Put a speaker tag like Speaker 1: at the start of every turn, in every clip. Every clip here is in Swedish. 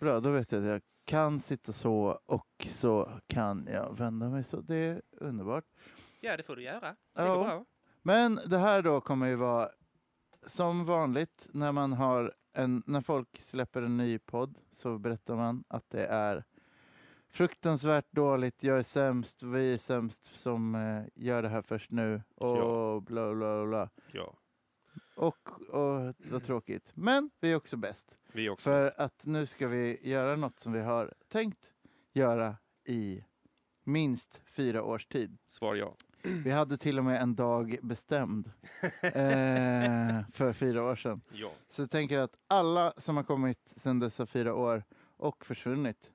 Speaker 1: Bra, då vet jag att jag kan sitta så och så kan jag vända mig så. Det är underbart.
Speaker 2: Ja, det får du göra. Det
Speaker 1: Ja.
Speaker 2: går bra.
Speaker 1: Men det här då kommer ju vara som vanligt när man har en, när folk släpper en ny podd så berättar man att det är fruktansvärt dåligt, jag är sämst, vi är sämst som eh, gör det här först nu och
Speaker 2: Ja.
Speaker 1: bla bla bla.
Speaker 2: Ja,
Speaker 1: Och, och vad tråkigt. Men vi är också bäst.
Speaker 2: vi är också bäst.
Speaker 1: För att nu ska vi göra något som vi har tänkt göra i minst fyra års tid.
Speaker 2: Svar ja.
Speaker 1: Vi hade till och med en dag bestämd eh, för fyra år sedan.
Speaker 2: Ja.
Speaker 1: Så jag tänker att alla som har kommit sedan dessa fyra år och försvunnit,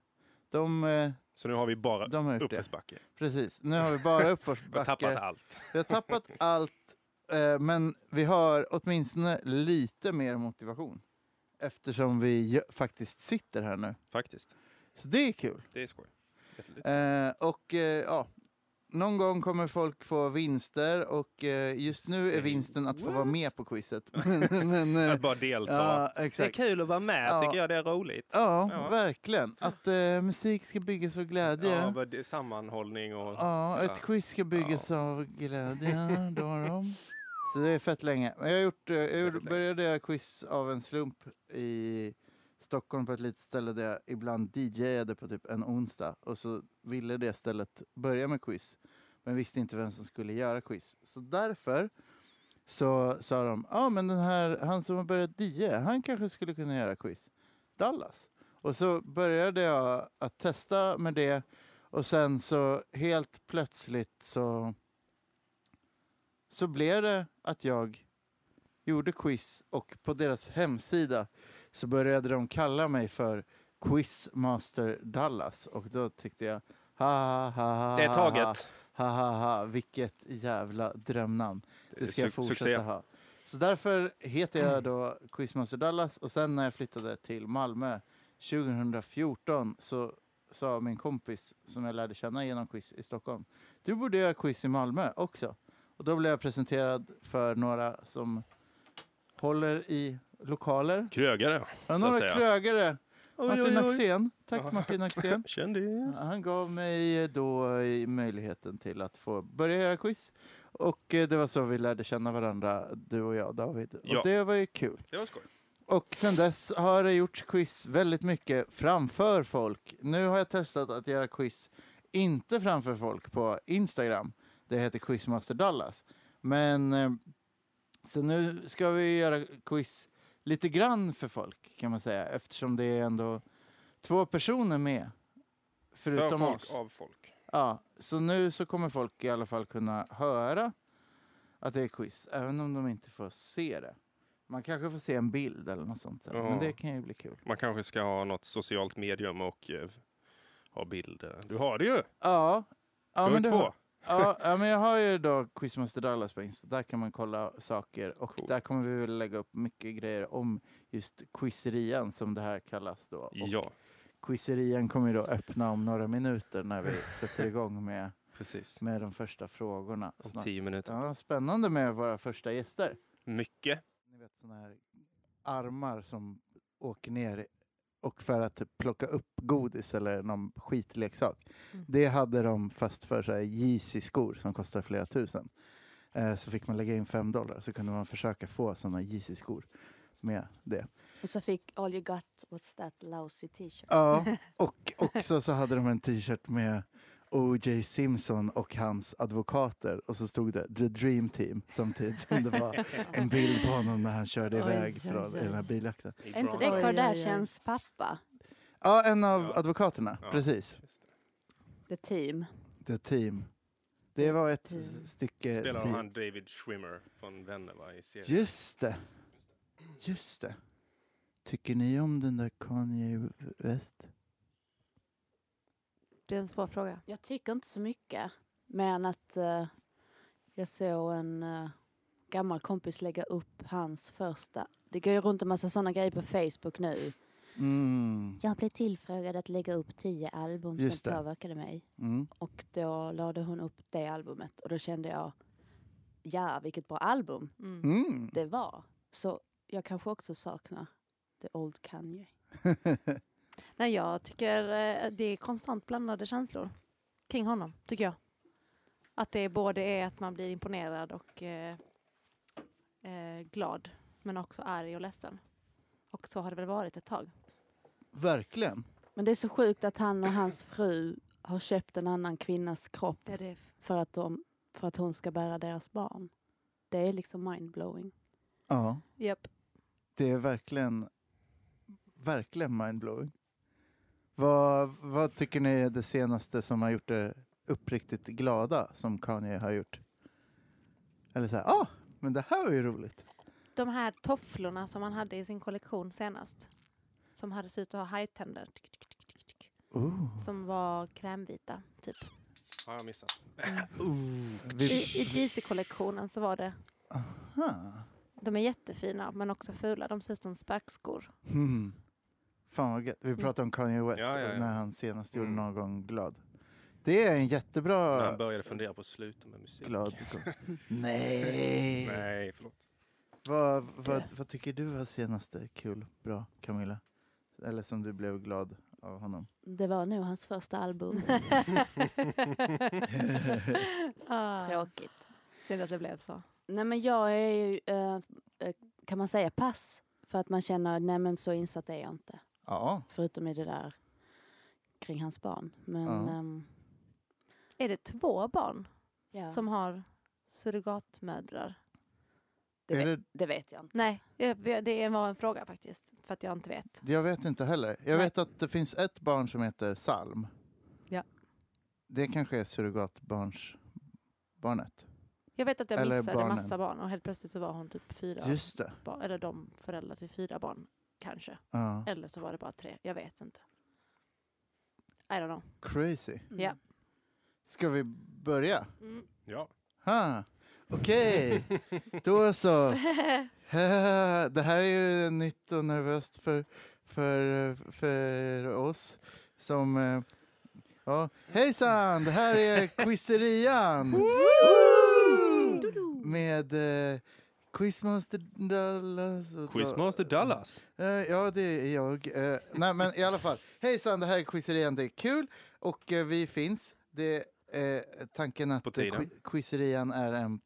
Speaker 1: de, eh,
Speaker 2: Så nu har vi bara
Speaker 1: de har gjort det.
Speaker 2: uppförsbacke.
Speaker 1: Precis, nu har vi bara
Speaker 2: Vi har tappat
Speaker 1: uppförsbacke.
Speaker 2: allt.
Speaker 1: Vi har tappat allt, eh, men vi har åtminstone lite mer motivation eftersom vi ju- faktiskt sitter här nu.
Speaker 2: Faktiskt.
Speaker 1: Så det är kul.
Speaker 2: Det är skoj. Jätteligt.
Speaker 1: Eh, och eh, ja, någon gång kommer folk få vinster och eh, just nu är
Speaker 2: Say
Speaker 1: vinsten att få
Speaker 2: what?
Speaker 1: vara med på quizet. men, men, eh,
Speaker 2: Att bara delta.
Speaker 1: ja,
Speaker 2: det är
Speaker 1: exakt.
Speaker 2: kul att vara med.
Speaker 1: Ja.
Speaker 2: Tycker jag det är roligt.
Speaker 1: Ja,
Speaker 2: Ja.
Speaker 1: verkligen. Att eh, musik ska byggas av
Speaker 2: Ja,
Speaker 1: glädje.
Speaker 2: vad det är sammanhållning och...
Speaker 1: Ja,
Speaker 2: Ja.
Speaker 1: ett quiz ska byggas av glädje. Då har de. Så det är fett länge. Men jag, har gjort, eh, jag gjorde-
Speaker 2: Väldigt länge.
Speaker 1: började göra quiz av en slump i Stockholm på ett litet ställe där jag ibland DJade på typ en onsdag. Och så ville det stället börja med quiz. Men visste inte vem som skulle göra quiz. Så därför så sa de, ja ah, men den här, han som har börjat DJa, han kanske skulle kunna göra quiz. Dallas. Och så började jag att testa med det. Och sen så helt plötsligt så, så blev det att jag gjorde quiz och på deras hemsida så började de kalla mig för Quizmaster Dallas och då tyckte jag ha ha ha
Speaker 2: Det är taget.
Speaker 1: ha ha ha vilket jävla drömnamn. Det ska jag
Speaker 2: Suc-
Speaker 1: fortsätta
Speaker 2: succé.
Speaker 1: ha. Så därför heter jag då Quizmaster Dallas och sen när jag flyttade till Malmö 2014 så sa min kompis som jag lärde känna genom quiz i Stockholm. Du borde göra quiz i Malmö också. Och då blev jag presenterad för några som håller i lokaler.
Speaker 2: Krögare,
Speaker 1: Ja,
Speaker 2: så att
Speaker 1: några
Speaker 2: säga.
Speaker 1: krögare. Martin Axén.
Speaker 2: Ja.
Speaker 1: Tack Martin Axén.
Speaker 2: Kändis.
Speaker 1: Ja, Han gav mig eh, då i möjligheten till att få börja göra quiz. Och eh, det var så vi lärde känna varandra, du och jag, David. Och
Speaker 2: Ja.
Speaker 1: det var ju kul.
Speaker 2: Det var skoj.
Speaker 1: Och sen dess har det gjorts quiz väldigt mycket framför folk. Nu har jag testat att göra quiz inte framför folk på Instagram. Det heter Quizmaster Dallas. Men eh, så nu ska vi göra quiz lite grann för folk kan man säga eftersom det är ändå två personer med.
Speaker 2: För
Speaker 1: Förutom
Speaker 2: folk
Speaker 1: oss.
Speaker 2: av folk.
Speaker 1: Ja, så nu så kommer folk i alla fall kunna höra att det är quiz, även om de inte får se det. Man kanske får se en bild eller något sånt. sen,
Speaker 2: Ja.
Speaker 1: Men det kan ju bli kul.
Speaker 2: Man kanske ska ha något socialt medium och eh, ha bilder. Du har det ju!
Speaker 1: Ja. ja
Speaker 2: du har ju
Speaker 1: det
Speaker 2: två.
Speaker 1: har- ja, ja, men jag har ju då Quizmaster Dallas på Insta. Där kan man kolla saker. Och
Speaker 2: Cool.
Speaker 1: där kommer vi väl lägga upp mycket grejer om just quizerian som det här kallas då. Och
Speaker 2: Ja,
Speaker 1: Quizerian kommer ju då öppna om några minuter när vi sätter igång med,
Speaker 2: precis.
Speaker 1: med de första frågorna.
Speaker 2: Om
Speaker 1: snart.
Speaker 2: tio minuter.
Speaker 1: Ja, spännande med våra första gäster.
Speaker 2: Mycket.
Speaker 1: Ni vet såna här armar som åker ner och för att typ plocka upp godis eller någon skitleksak.
Speaker 3: Mm.
Speaker 1: Det hade de fast för så här Yeezy-skor som kostar flera tusen. Eh, så fick man lägga in fem dollar så kunde man försöka få sådana Yeezy-skor med det.
Speaker 3: Och så fick All You Got What's That Lousy T-shirt.
Speaker 1: Ja, och också så hade de en t-shirt med O.J. Simpson och hans advokater och så stod det The Dream Team samtidigt som det var en bild på honom när han körde
Speaker 3: Oj,
Speaker 1: iväg
Speaker 3: oj,
Speaker 1: från
Speaker 3: oj.
Speaker 1: i den här bilakten.
Speaker 3: Är inte
Speaker 2: Bra.
Speaker 3: det
Speaker 4: Oj, oj, oj.
Speaker 3: Kardashians pappa?
Speaker 1: Ja, en av
Speaker 2: Ja.
Speaker 1: advokaterna.
Speaker 2: Ja.
Speaker 1: Precis.
Speaker 2: Just det.
Speaker 3: The Team.
Speaker 1: The Team. Det var ett
Speaker 3: Team.
Speaker 1: s- stycke...
Speaker 2: Spelar
Speaker 1: team.
Speaker 2: han David Schwimmer från Vänner va, i serien?
Speaker 1: Just det. Just det. Tycker ni om den där Kanye West?
Speaker 4: Det är en svår fråga.
Speaker 3: Jag tycker inte så mycket. Men att eh, jag såg en eh, gammal kompis lägga upp hans första. Det går ju runt en massa sådana grejer på Facebook nu.
Speaker 1: Mm.
Speaker 3: Jag blev tillfrågad att lägga upp tio album
Speaker 1: Just
Speaker 3: som
Speaker 1: det.
Speaker 3: påverkade mig.
Speaker 1: Mm.
Speaker 3: Och då lade hon upp det albumet. Och då kände jag, ja vilket bra album
Speaker 1: Mm.
Speaker 3: det var. Så jag kanske också saknar The Old Kanye.
Speaker 4: Nej, jag tycker eh, det är konstant blandade känslor kring honom, tycker jag. Att det är både är att man blir imponerad och eh, eh, glad, men också arg och ledsen. Och så har det väl varit ett tag.
Speaker 1: Verkligen.
Speaker 3: Men det är så sjukt att han och hans fru har köpt en annan kvinnas kropp
Speaker 4: är det.
Speaker 3: för att, de, för att hon ska bära deras barn. Det är liksom mindblowing.
Speaker 1: Ja.
Speaker 4: Yep.
Speaker 1: Det är verkligen, verkligen mindblowing. Vad, vad tycker ni är det senaste som har gjort er uppriktigt glada som Kanye har gjort? Eller så här, ah, men det här var ju roligt.
Speaker 4: De här tofflorna som han hade i sin kollektion senast, som hade sett ut att ha hajtänder,
Speaker 1: Ooh.
Speaker 4: som var krämvita, typ.
Speaker 2: Har jag missat?
Speaker 4: I,
Speaker 1: Vi,
Speaker 4: i Yeezy-kollektionen så var det
Speaker 1: aha.
Speaker 4: De är jättefina, men också fula. De ser ut som spökskor.
Speaker 1: Hmm. Fan vad gött. Vi
Speaker 4: Mm.
Speaker 1: pratade om Kanye West
Speaker 2: Ja, ja, ja.
Speaker 1: när han senast gjorde
Speaker 2: Mm.
Speaker 1: någon gång glad. Det är en
Speaker 2: När han
Speaker 1: jättebra
Speaker 2: började fundera på att sluta med musik.
Speaker 1: glad. Nej.
Speaker 2: Nej, förlåt.
Speaker 1: Vad, vad, vad tycker du var senaste kul, bra, Camilla? Eller som du blev glad av honom?
Speaker 3: Det var nog hans första album.
Speaker 4: ah,
Speaker 3: Tråkigt.
Speaker 4: synd att det blev så.
Speaker 3: Nej men jag är ju, eh, eh, kan man säga pass? För att man känner, nej men så insatt är jag inte.
Speaker 1: Ja.
Speaker 3: Förutom i det där kring hans barn. Men
Speaker 1: Ja.
Speaker 3: ehm,
Speaker 4: Är det två barn
Speaker 3: ja,
Speaker 4: som har surrogatmödrar?
Speaker 3: det,
Speaker 1: är
Speaker 3: vet,
Speaker 1: det,
Speaker 3: det vet jag inte.
Speaker 4: Nej, jag- jag- det var en fråga faktiskt, för att jag inte vet.
Speaker 1: jag vet inte heller. Jag
Speaker 4: Nej.
Speaker 1: vet att det finns ett barn som heter Salm.
Speaker 4: Ja.
Speaker 1: Det kanske är surrogatbarnsbarnet.
Speaker 4: Jag vet att jag
Speaker 1: Eller
Speaker 4: missade
Speaker 1: barnen.
Speaker 4: massa barn och helt plötsligt så var hon typ fyra
Speaker 1: Just det.
Speaker 4: barn, eller de föräldrar till fyra barn kanske.
Speaker 1: Ja.
Speaker 4: Eller så var det bara tre, jag vet inte. I don't know.
Speaker 1: Crazy.
Speaker 3: Mm.
Speaker 4: Ja.
Speaker 1: Ska vi börja?
Speaker 4: Mm.
Speaker 2: Ja.
Speaker 1: Ha. Okej, då så. Det här är ju nytt och nervöst för, för, för oss som... eh, Ja. Hejsan, det här är Quizerian! Woo! Med eh, Quizmaster Dallas. och-
Speaker 2: Quizmaster Dallas.
Speaker 1: Eh, ja, det är jag. Eh, nej, men i alla fall. Hejsan, det här är Quizerian. Det är kul och eh, vi finns. Det är eh, tanken att
Speaker 2: På tiden.
Speaker 1: qui- Quizerian är en,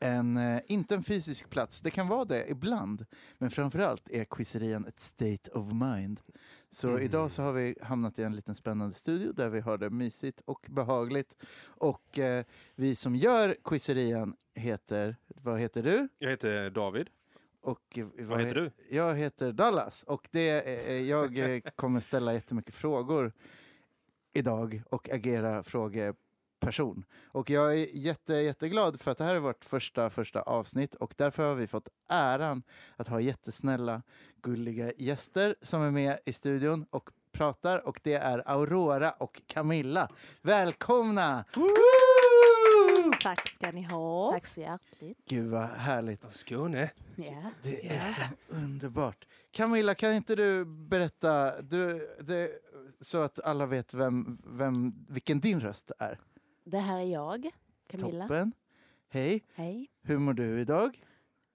Speaker 1: en eh, inte en fysisk plats. Det kan vara det ibland, men framför allt är Quizerian ett state of mind. Så
Speaker 2: Mm.
Speaker 1: idag så har vi hamnat i en liten spännande studio där vi har det mysigt och behagligt. Och eh, vi som gör Quizerian heter, vad heter du?
Speaker 2: Jag heter David.
Speaker 1: Och, eh,
Speaker 2: Vad
Speaker 1: he-
Speaker 2: heter du?
Speaker 1: jag heter Dallas och det, eh, jag eh, kommer ställa jättemycket frågor idag och agera frågeperson. Och jag är jätte, jätteglad för att det här är vårt första, första avsnitt och därför har vi fått äran att ha jättesnälla, gulliga gäster som är med i studion och pratar och det är Aurora och Camilla. Välkomna! Woo!
Speaker 4: Tack ska ni ha.
Speaker 3: Tack så hjärtligt.
Speaker 1: Gud vad härligt.
Speaker 2: Skåne.
Speaker 3: Ja.
Speaker 1: Det är så underbart. Camilla, kan inte du berätta du, det, så att alla vet vem, vem, vilken din röst är?
Speaker 3: Det här är jag, Camilla.
Speaker 1: Toppen. Hej,
Speaker 3: Hej.
Speaker 1: hur mår du idag?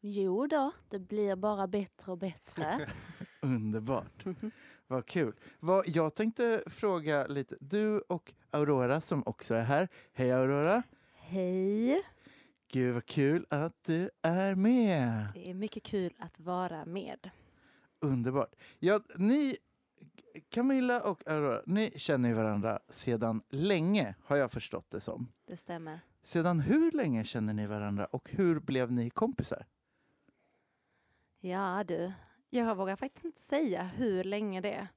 Speaker 3: Jo då, det blir bara bättre och bättre.
Speaker 1: Underbart. Vad kul. Vad, jag tänkte fråga lite. Du och Aurora som också är här. Hej Aurora.
Speaker 4: Hej.
Speaker 1: Gud vad kul att du är med.
Speaker 4: Det är mycket kul att vara med.
Speaker 1: Underbart. Ja, ni, Camilla och Aurora, ni känner ju varandra sedan länge har jag förstått det som.
Speaker 4: Det stämmer.
Speaker 1: Sedan hur länge känner ni varandra och hur blev ni kompisar?
Speaker 4: Ja du, jag vågar faktiskt inte säga hur länge det är.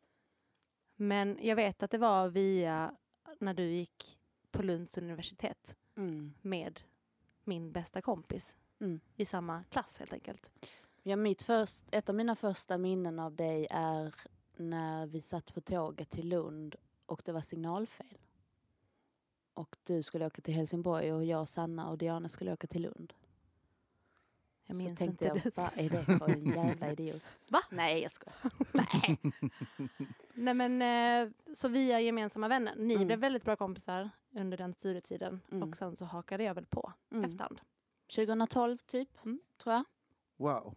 Speaker 4: Men jag vet att det var via när du gick på Lunds universitet
Speaker 3: Mm.
Speaker 4: med min bästa kompis
Speaker 3: Mm.
Speaker 4: i samma klass helt enkelt.
Speaker 3: Ja, mitt först, ett av mina första minnen av dig är när vi satt på tåget till Lund och det var signalfel. Och du skulle åka till Helsingborg och jag, Sanna och Diana skulle åka till Lund.
Speaker 4: Jag
Speaker 3: så
Speaker 4: minns
Speaker 3: tänkte
Speaker 4: inte
Speaker 3: jag,
Speaker 4: det.
Speaker 3: vad är det för en jävla idiot?
Speaker 4: Va?
Speaker 3: Nej, jag skojar.
Speaker 4: Nej. Nej men eh, så vi är gemensamma vänner. Ni
Speaker 3: Mm.
Speaker 4: blev väldigt bra kompisar under den studietiden
Speaker 3: Mm.
Speaker 4: och sen så hakade jag väl på
Speaker 3: Mm.
Speaker 4: efterhand.
Speaker 3: 2012 typ,
Speaker 4: Mm.
Speaker 3: tror jag.
Speaker 1: Wow.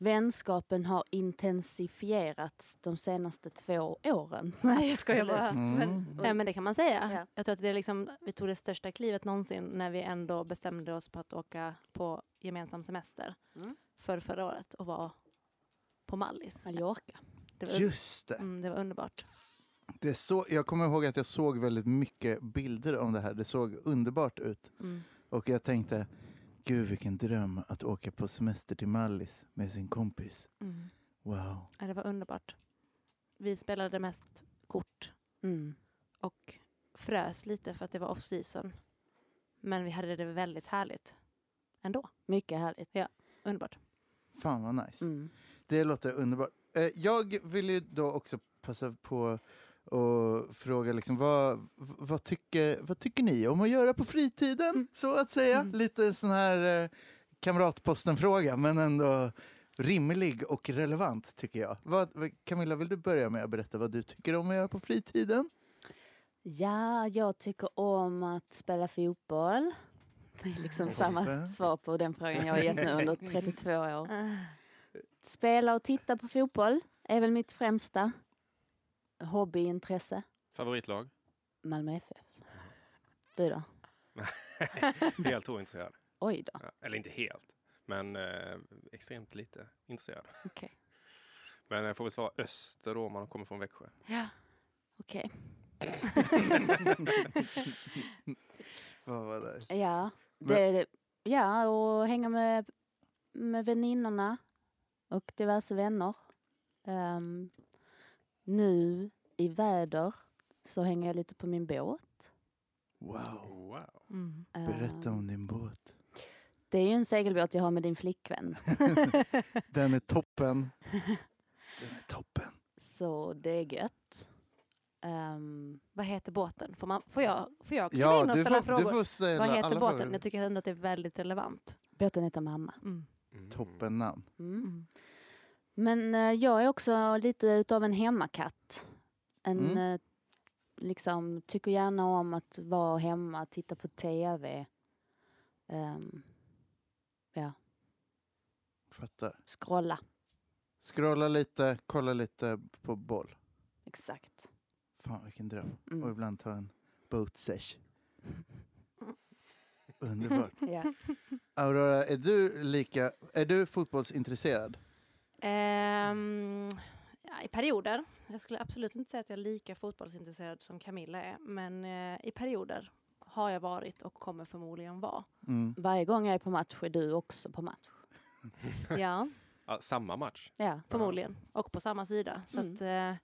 Speaker 3: Vänskapen har intensifierats de senaste två åren.
Speaker 4: Nej, jag skojar bara.
Speaker 1: Mm.
Speaker 4: Nej, men det kan man säga.
Speaker 3: Ja.
Speaker 4: Jag tror att det är liksom, vi tog det största klivet någonsin när vi ändå bestämde oss på att åka på gemensam semester
Speaker 3: Mm.
Speaker 4: för förra året och var på Mallis.
Speaker 3: Mallorca.
Speaker 4: Det var,
Speaker 1: Just det.
Speaker 4: mm, det var underbart.
Speaker 1: det så, jag kommer ihåg att jag såg väldigt mycket bilder om det här. Det såg underbart ut.
Speaker 4: Mm.
Speaker 1: Och jag tänkte, gud vilken dröm att åka på semester till Mallis med sin kompis.
Speaker 4: Mm.
Speaker 1: Wow.
Speaker 4: Ja, det var underbart. Vi spelade mest kort
Speaker 3: Mm.
Speaker 4: och frös lite för att det var off season. Men vi hade det väldigt härligt ändå.
Speaker 3: Mycket härligt.
Speaker 4: Ja. Underbart.
Speaker 1: Fan vad nice.
Speaker 3: Mm.
Speaker 1: Det låter underbart. Eh, Jag vill ju då också passa på och fråga liksom, vad, v- vad, tycker, vad tycker ni om att göra på fritiden? Så att säga.
Speaker 4: Mm.
Speaker 1: Lite sån här eh, kamratposten-fråga, men ändå rimlig och relevant tycker jag. Vad, vad- Camilla, vill du börja med att berätta vad du tycker om att göra på fritiden?
Speaker 3: Ja, jag tycker om att spela fotboll. Det är liksom samma
Speaker 1: Toppen.
Speaker 3: svar på den frågan jag har gett nu under 32 år. Spela och titta på fotboll är väl mitt främsta hobbyintresse.
Speaker 2: Favoritlag?
Speaker 3: Malmö FF. Du då?
Speaker 2: Helt ointresserad.
Speaker 3: Oj då.
Speaker 2: Ja, Eller inte helt, men eh, extremt lite intresserad.
Speaker 3: Okej.
Speaker 2: Men jag får väl svara öster då, om man kommer från Växjö.
Speaker 3: Ja. Okej.
Speaker 1: Vad var det?
Speaker 3: Ja. Det, det, ja, och hänga med, med väninnorna och diverse vänner. Ehm, nu i väder så hänger jag lite på min båt.
Speaker 1: Wow.
Speaker 2: Wow.
Speaker 4: Mm.
Speaker 3: Ehm,
Speaker 1: Berätta om din båt.
Speaker 3: Det är ju en segelbåt jag har med din flickvän.
Speaker 1: Den är toppen. Den är toppen.
Speaker 3: Så det är gött. Ehm,
Speaker 4: Vad heter båten? Får, man, får jag, får jag kliva
Speaker 1: Ja,
Speaker 4: in och
Speaker 1: du
Speaker 4: ställa
Speaker 1: får,
Speaker 4: frågor?
Speaker 1: du får ställa
Speaker 4: Vad
Speaker 1: alla
Speaker 4: heter båten?
Speaker 1: frågor.
Speaker 4: Jag tycker ändå att det är väldigt relevant.
Speaker 3: båten heter Mamma.
Speaker 4: Mm.
Speaker 2: Mm.
Speaker 1: Toppennamn.
Speaker 3: Mm. Men eh, jag är också lite utav en hemmakatt. En,
Speaker 1: Mm.
Speaker 3: eh, liksom, tycker gärna om att vara hemma, titta på tv. Um,
Speaker 1: Fattar.
Speaker 3: scrolla.
Speaker 1: Scrolla lite, kolla lite på boll.
Speaker 3: Exakt.
Speaker 1: Fan vilken dröm. Och
Speaker 3: Mm.
Speaker 1: ibland ta en boat sesh. Underbart.
Speaker 3: Ja.
Speaker 1: Aurora, är du, lika, är du fotbollsintresserad?
Speaker 4: Ehm, ja, I perioder. Jag skulle absolut inte säga att jag är lika fotbollsintresserad som Camilla är, men eh, i perioder har jag varit och kommer förmodligen vara.
Speaker 1: Mm.
Speaker 3: Varje gång jag är på match är du också på match.
Speaker 4: Ja,
Speaker 2: Ja, samma match.
Speaker 3: Ja.
Speaker 4: förmodligen. Och på samma sida. Så
Speaker 3: Mm.
Speaker 4: att, eh,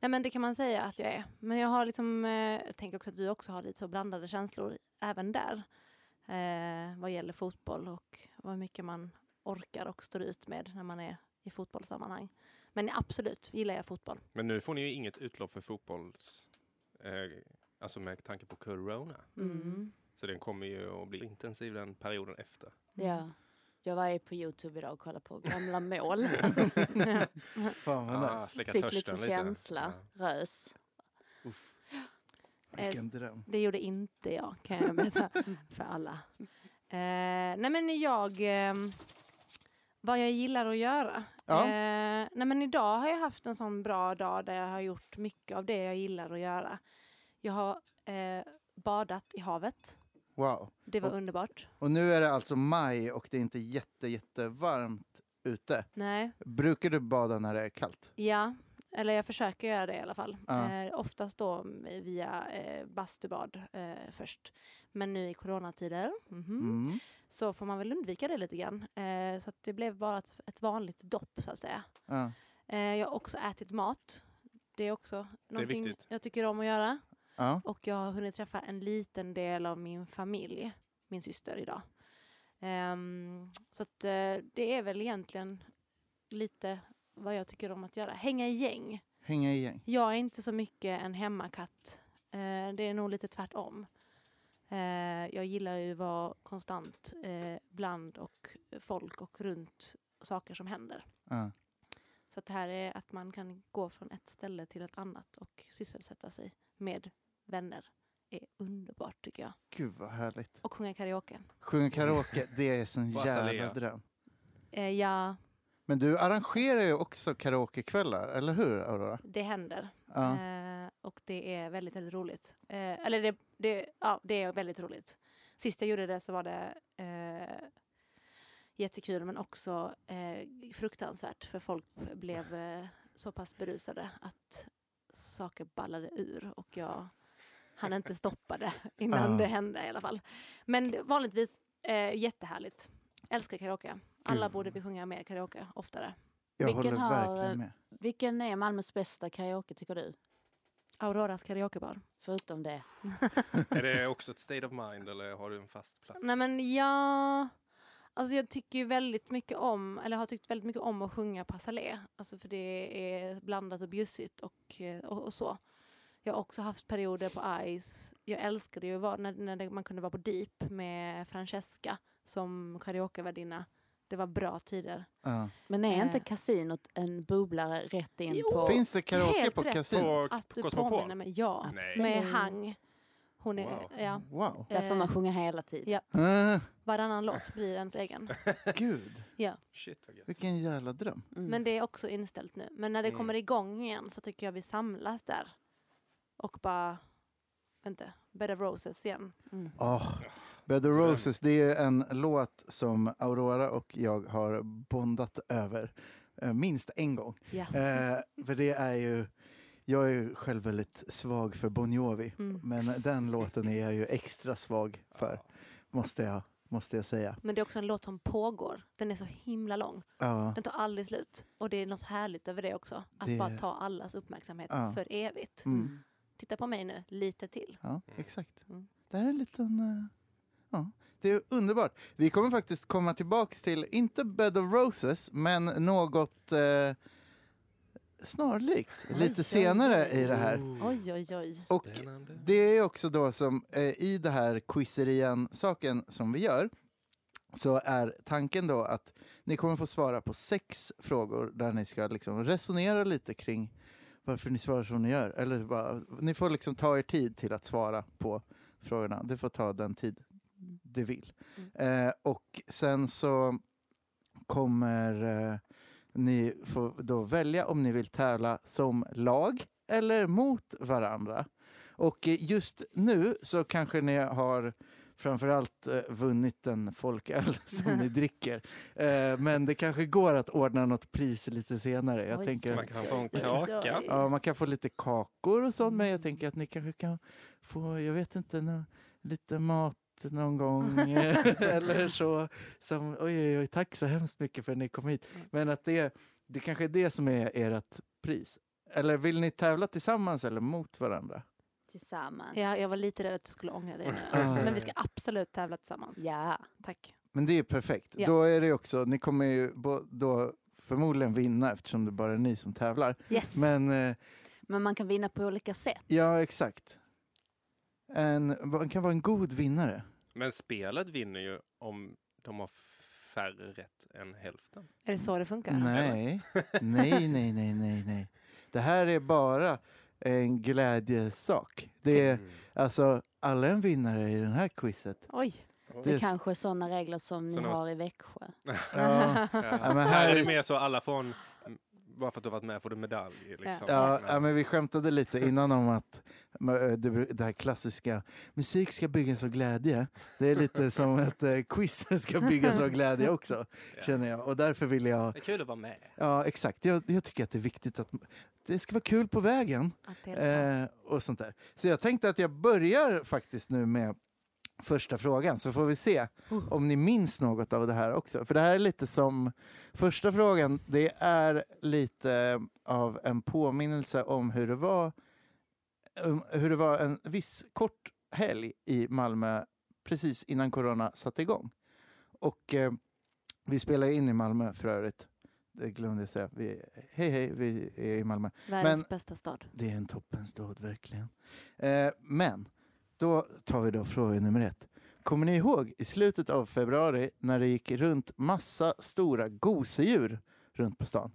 Speaker 4: nej men det kan man säga att jag är. Men jag har liksom, eh, jag tänker också att du också har lite så blandade känslor även där. Eh, vad gäller fotboll och vad mycket man orkar och står ut med när man är i fotbollssammanhang. Men absolut gillar jag fotboll.
Speaker 2: Men nu får ni ju inget utlopp för fotbolls... Eh, alltså med tanke på corona.
Speaker 3: Mm.
Speaker 2: Så den kommer ju att bli intensiv den perioden efter.
Speaker 3: ja. Jag var ju på Youtube idag och kollade på gamla mål.
Speaker 1: Fan vad
Speaker 2: Ah,
Speaker 1: nice.
Speaker 2: släcka
Speaker 3: Fick
Speaker 2: törsten
Speaker 3: lite känsla.
Speaker 2: Ja.
Speaker 3: Rös.
Speaker 1: Uff,
Speaker 4: Eh,
Speaker 1: vilken dröm.
Speaker 4: Det gjorde inte jag, kan jag berätta
Speaker 1: Mm.
Speaker 4: för alla. Eh, nej men jag, ehm, vad jag gillar att göra.
Speaker 1: Ja.
Speaker 4: Eh, nej men idag har jag haft en sån bra dag där jag har gjort mycket av det jag gillar att göra. Jag har eh, badat i havet.
Speaker 1: Wow.
Speaker 4: Det var
Speaker 1: Och-
Speaker 4: underbart.
Speaker 1: Och nu är det alltså maj och det är inte jätte, jättevarmt ute.
Speaker 4: Nej.
Speaker 1: Brukar du bada när det är kallt?
Speaker 4: Ja, eller jag försöker göra det i alla fall.
Speaker 1: Ja.
Speaker 4: Eh, oftast då mm, via eh, bastubad eh, först. Men nu i coronatider. mhm.
Speaker 1: Mm.
Speaker 4: så får man väl undvika det lite grann. Eh, så att det blev bara ett, ett vanligt dopp så att säga.
Speaker 1: Ja.
Speaker 4: Eh, jag har också ätit mat. Det är också någonting
Speaker 2: viktigt.
Speaker 4: jag tycker om att göra.
Speaker 1: Ja.
Speaker 4: Och jag har hunnit träffa en liten del av min familj, min syster idag. Ehm, så att, eh, det är väl egentligen lite vad jag tycker om att göra. Hänga i gäng.
Speaker 1: Hänga i gäng.
Speaker 4: Jag är inte så mycket en hemmakatt. Eh, det är nog lite tvärtom. Eh, jag gillar ju att vara konstant eh, bland och folk och runt saker som händer.
Speaker 1: Ja.
Speaker 4: Så att det här är att man kan gå från ett ställe till ett annat och sysselsätta sig med vänner är underbart tycker jag.
Speaker 1: Gud vad härligt.
Speaker 4: Och sjunga karaoke.
Speaker 1: Sjunga karaoke, det är sån
Speaker 2: På
Speaker 1: jävla
Speaker 2: Azalea.
Speaker 1: dröm.
Speaker 4: Eh, ja,
Speaker 1: Men du arrangerar ju också karaokekvällar, eller hur Aurora?
Speaker 4: Det händer.
Speaker 1: Ja.
Speaker 4: Eh, och det är väldigt, väldigt roligt. Eh, eller det, det, ja, det är väldigt roligt. Sist jag gjorde det så var det eh, jättekul men också eh, fruktansvärt för folk blev eh, så pass berusade att saker ballade ur och jag hann inte stoppa det innan
Speaker 1: Ah.
Speaker 4: det hände i alla fall. Men vanligtvis eh, jättehärligt. Älskar karaoke. Alla
Speaker 1: Gud.
Speaker 4: borde vi sjunga mer karaoke oftare.
Speaker 1: Jag
Speaker 3: Vilken
Speaker 1: håller
Speaker 3: har, eh,
Speaker 1: verkligen med.
Speaker 3: Vilken är Malmös bästa karaoke tycker du?
Speaker 4: Auroras karaokebar.
Speaker 3: Förutom det.
Speaker 2: Är det också ett state of mind eller har du en fast plats?
Speaker 4: Nej men jag... Alltså jag tycker ju väldigt mycket om, eller har tyckt väldigt mycket om att sjunga passalé. Alltså för det är blandat och bjussigt och, eh, och, och så. Jag har också haft perioder på Ice. Jag älskade ju att vara, när, när det- man kunde vara på Deep med Francesca som karaokevärdinna. Det var bra tider.
Speaker 1: Ja.
Speaker 3: Men är
Speaker 4: Eh.
Speaker 3: inte kasinot en bubblare rätt in
Speaker 4: Jo.
Speaker 3: på...
Speaker 1: Finns det karaoke
Speaker 4: Helt
Speaker 1: på
Speaker 4: rätt.
Speaker 1: kasinot?
Speaker 2: På
Speaker 4: Att du
Speaker 2: Cosmopol?
Speaker 4: påminner mig, ja.
Speaker 2: Nej.
Speaker 4: Med
Speaker 3: Absolut.
Speaker 4: Hang. Hon är,
Speaker 2: Wow.
Speaker 4: ja,
Speaker 1: Wow.
Speaker 3: Där får man
Speaker 4: Eh.
Speaker 3: sjunga hela tiden.
Speaker 4: Ja.
Speaker 1: Ah,
Speaker 4: varannan låt blir ens egen.
Speaker 1: Gud,
Speaker 2: Shit vad gött.
Speaker 1: vilken jävla dröm.
Speaker 3: Mm.
Speaker 4: Men det är också inställt nu. Men när det
Speaker 2: Mm.
Speaker 4: kommer igång igen så tycker jag vi samlas där. Och bara, vänta, Bed of Roses igen.
Speaker 3: Mm.
Speaker 1: Oh. Bed of
Speaker 2: Dröm.
Speaker 1: Roses, det är en låt som Aurora och jag har bondat över eh, minst en gång.
Speaker 4: Ja.
Speaker 1: Eh, för det är ju, jag är ju själv väldigt svag för Bon Jovi,
Speaker 4: Mm.
Speaker 1: men den låten är jag ju extra svag för,
Speaker 2: Ja.
Speaker 1: måste jag, måste jag säga.
Speaker 4: Men det är också en låt som pågår. Den är så himla lång.
Speaker 1: Ja,
Speaker 4: Den tar aldrig slut. Och det är något härligt över det också. Att
Speaker 1: Det-
Speaker 4: bara ta allas uppmärksamhet
Speaker 1: Ja.
Speaker 4: för evigt.
Speaker 1: mm,
Speaker 4: Titta på mig nu, lite till.
Speaker 1: ja exakt.
Speaker 4: Mm.
Speaker 1: Det här är en liten... eh, ja, det är underbart. Vi kommer faktiskt komma tillbaks till, inte Bed of Roses, men något eh, snarlikt
Speaker 3: Oj,
Speaker 1: lite
Speaker 3: oj,
Speaker 1: senare
Speaker 3: oj.
Speaker 1: i det här.
Speaker 2: Ooh,
Speaker 4: Oj, oj, oj.
Speaker 1: Och
Speaker 2: Spännande.
Speaker 1: det är också då som eh, i det här quizerian-saken som vi gör så är tanken då att ni kommer få svara på sex frågor där ni ska liksom resonera lite kring varför ni svarar som ni gör. Eller bara, ni får liksom ta er tid till att svara på frågorna. Det får ta den tid det vill. Eh, och sen så kommer eh, ni få då välja om ni vill tävla som lag eller mot varandra. Och eh, just nu så kanske ni har framförallt eh, vunnit en folköl som ni dricker. Eh, men det kanske går att ordna något pris lite senare. Jag
Speaker 3: Oj.
Speaker 1: tänker
Speaker 2: Så
Speaker 1: att
Speaker 2: man kan få en
Speaker 3: Oj, oj,
Speaker 2: kaka.
Speaker 3: oj.
Speaker 4: Eh,
Speaker 1: Ja, man kan få lite kakor och sånt, men jag tänker att ni kanske kan få, jag vet inte, nå- lite mat någon gång eh, eller så. Som, oj, oj, oj, tack så hemskt mycket för att ni kom hit. Men att det, det kanske är det som är ert pris. Eller vill ni tävla tillsammans eller mot varandra?
Speaker 3: Tillsammans.
Speaker 4: Ja, jag var lite rädd att du skulle ångra dig nu.
Speaker 1: Ah.
Speaker 4: Men vi ska absolut tävla tillsammans.
Speaker 3: Ja.
Speaker 4: Tack.
Speaker 1: Men det är perfekt.
Speaker 4: Ja.
Speaker 1: Då är det också, ni kommer ju bo, då förmodligen vinna eftersom det bara är ni som tävlar.
Speaker 4: Yes.
Speaker 1: Men eh,
Speaker 3: Men man kan vinna på olika sätt.
Speaker 1: ja, exakt. En, man kan vara en god vinnare.
Speaker 2: Men spelet vinner ju om de har färre rätt än hälften.
Speaker 4: Är det så det funkar?
Speaker 1: Nej, nej, nej, nej, nej, nej. Det här är bara en glädjesak. Det är
Speaker 2: Mm.
Speaker 1: alltså alla är en vinnare i den här quizet.
Speaker 4: Oj.
Speaker 3: Det
Speaker 1: Det-
Speaker 3: kanske är sådana regler som ni
Speaker 2: Såna-
Speaker 3: har i Växjö.
Speaker 1: Ja,
Speaker 2: Ja.
Speaker 1: men här
Speaker 2: här
Speaker 1: är-
Speaker 2: är det mer så alla får en, bara för att du har varit med får du medalj. Liksom.
Speaker 1: ja,
Speaker 2: Men-
Speaker 1: ja, men vi skämtade lite innan om att men, eh, det bru- det här klassiska musik ska byggas av glädje. Det är lite som att eh, quiz ska byggas av glädje också,
Speaker 2: Ja.
Speaker 1: känner jag. Och därför vill jag...
Speaker 2: Det är kul att vara med.
Speaker 1: Ja, exakt. Jag, jag tycker att det är viktigt att det ska vara kul på vägen.
Speaker 4: Att det är
Speaker 1: Eh, och sånt där. Så jag tänkte att jag börjar faktiskt nu med första frågan så får vi se
Speaker 4: Oh.
Speaker 1: om ni minns något av det här också. För det här är lite som första frågan. Det är lite av en påminnelse om hur det var, um, hur det var en viss kort helg i Malmö precis innan corona satte igång. Och eh, vi spelar in i Malmö för övrigt. Det glömde jag säga. Vi, hej hej, vi är i Malmö.
Speaker 4: världens bästa stad.
Speaker 1: Det är en toppenstad, verkligen. Eh, men då tar vi då fråga nummer ett. Kommer ni ihåg i slutet av februari när det gick runt massa stora gosedjur runt på stan?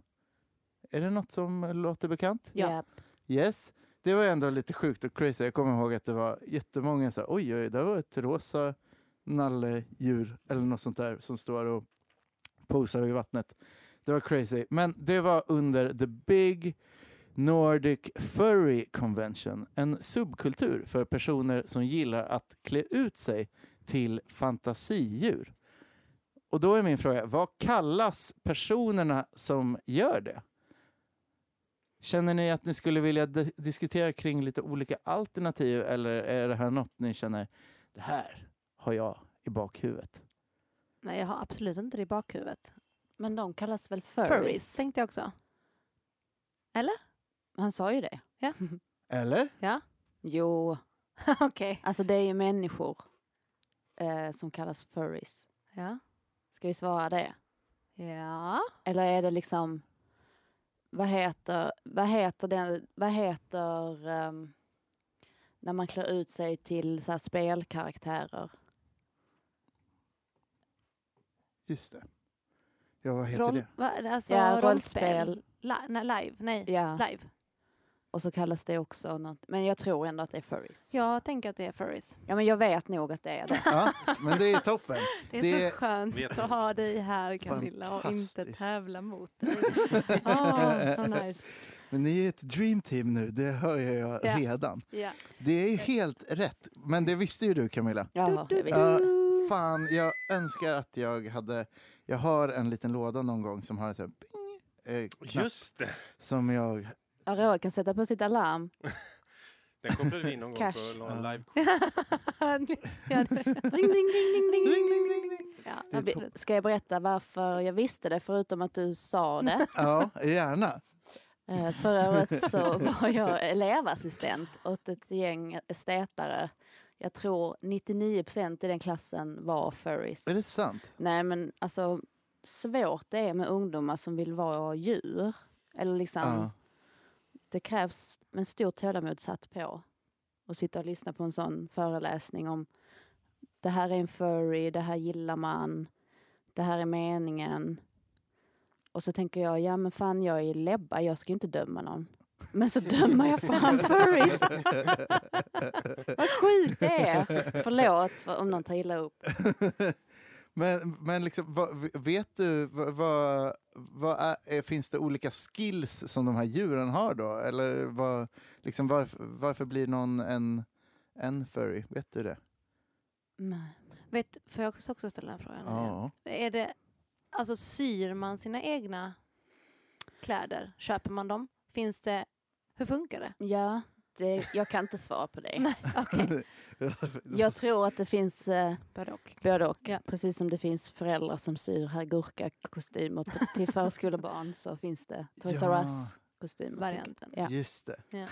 Speaker 1: Är det något som låter bekant?
Speaker 4: Ja.
Speaker 3: Japp.
Speaker 1: Yes. Det var ändå lite sjukt och crazy. Jag kommer ihåg att det var jättemånga så här, oj, oj, det var ett rosa nalledjur eller något sånt där som står och posar i vattnet. Det var crazy. Men det var under The Big Nordic Furry Convention. En subkultur för personer som gillar att klä ut sig till fantasidjur. Och då är min fråga, vad kallas personerna som gör det? Känner ni att ni skulle vilja di- diskutera kring lite olika alternativ eller är det här något ni känner, det här har jag i bakhuvudet?
Speaker 4: Nej, jag har absolut inte det i bakhuvudet.
Speaker 3: Men de kallas väl furries?
Speaker 4: Furries tänkte jag också.
Speaker 3: Han sa ju det.
Speaker 1: Eller?
Speaker 3: Jo,
Speaker 4: Okej.
Speaker 3: alltså det är ju människor eh, som kallas furries.
Speaker 4: Ja.
Speaker 3: Ska vi svara det?
Speaker 4: Ja.
Speaker 3: Eller är det liksom, vad heter, vad heter den, vad heter ehm, när man klär ut sig till så här spelkaraktärer?
Speaker 1: Just det. Ja, vad heter
Speaker 4: Roll,
Speaker 1: det?
Speaker 4: va, alltså,
Speaker 3: Ja,
Speaker 4: rollspel.
Speaker 3: rollspel.
Speaker 4: Li- nej, live. Nej.
Speaker 3: Ja,
Speaker 4: Live.
Speaker 3: och så kallas det också något. Men jag tror ändå att det är furries.
Speaker 4: Jag tänker att det är furries.
Speaker 3: ja men jag vet nog att det är det.
Speaker 1: Ja, men det är toppen.
Speaker 4: Det är
Speaker 1: Det-
Speaker 4: så skönt
Speaker 2: Vet
Speaker 4: att
Speaker 2: ni?
Speaker 4: ha dig här Camilla och inte
Speaker 1: Fantastiskt.
Speaker 4: tävla mot dig. Åh, Ah, så nice.
Speaker 1: Men ni är ett dreamteam nu, det hör jag
Speaker 4: Ja.
Speaker 1: redan.
Speaker 4: Ja.
Speaker 1: Det är ju helt rätt, men det visste ju du Camilla.
Speaker 3: Ja,
Speaker 4: Du, du,
Speaker 3: visst.
Speaker 1: Ja.
Speaker 4: du.
Speaker 1: Fan, jag önskar att jag hade... Jag har en liten låda någon gång som har en sån här bing, eh, knapp
Speaker 2: Just det!
Speaker 1: som jag...
Speaker 3: Ja, Roger kan sätta på sitt alarm.
Speaker 2: Den kopplade vi in någon gång på
Speaker 3: Cash.
Speaker 2: någon
Speaker 1: Ja.
Speaker 2: live
Speaker 4: Ja, det-
Speaker 3: Ring, ding, ding, ding, ding, ding, ding, ding.
Speaker 1: Det
Speaker 4: ja,
Speaker 1: är
Speaker 3: Jag vi-
Speaker 4: absolut.
Speaker 3: Ska jag berätta varför jag visste det förutom att du
Speaker 4: Mm.
Speaker 3: sa det?
Speaker 1: Ja, gärna.
Speaker 3: Eh, Förra året så var jag elevassistent åt ett gäng estetare. Jag tror 99 procent i den klassen var furries.
Speaker 1: Är det sant?
Speaker 3: Nej men alltså svårt det är med ungdomar som vill vara djur. Eller liksom,
Speaker 1: Ja.
Speaker 3: det krävs en stor tålamod satt på. Och sitta och lyssna på en sån föreläsning om det här är en furry, det här gillar man, det här är meningen. Och så tänker jag, ja men fan jag är lebba, jag ska ju inte döma någon. Men så dömer jag fan furries. Vad sjukt det är. Förlåt för- om någon tar illa upp.
Speaker 1: Men, men liksom, vad, vet du, vad, vad, vad är, är- finns det olika skills som de här djuren har då? Eller vad, liksom, varför, varför blir någon en, en furry? Vet du det?
Speaker 3: Nej.
Speaker 4: Vet, får jag också ställa den här frågan?
Speaker 1: Ja.
Speaker 4: Är det, alltså syr man sina egna kläder? Köper man dem? Finns det, hur funkar det?
Speaker 3: Ja, det, jag kan inte svara på det.
Speaker 4: Nej, okej.
Speaker 3: Jag tror att det finns eh,
Speaker 4: Både och.
Speaker 3: både och.
Speaker 4: Ja.
Speaker 3: Precis som det finns föräldrar som syr här gurkakostymer på- till förskolebarn så finns det Toys R
Speaker 1: Ja.
Speaker 3: Us-kostymer.
Speaker 4: Varianten.
Speaker 3: Ja.
Speaker 1: Just det.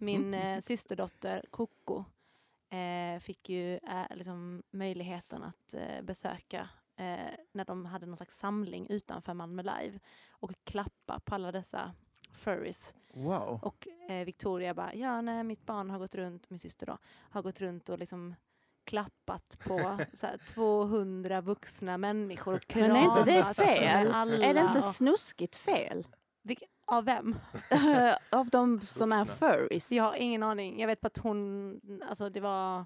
Speaker 4: Min eh, systerdotter Coco eh, fick ju eh, liksom möjligheten att eh, besöka eh, när de hade någon slags samling utanför Malmö Live och klappa på alla dessa furries
Speaker 1: Wow.
Speaker 4: Och eh, Victoria bara, ja nej mitt barn har gått runt, min syster då, har gått runt och liksom klappat på så här, 200 vuxna människor och
Speaker 3: Men är inte det
Speaker 4: kramat alltså, med
Speaker 3: fel?
Speaker 4: alla
Speaker 3: Är det inte
Speaker 4: och,
Speaker 3: snuskigt fel?
Speaker 4: Vilk- Av vem?
Speaker 3: Av de som är
Speaker 2: Vuxna.
Speaker 3: furries?
Speaker 4: Jag har ingen aning. Jag vet bara att hon, alltså det var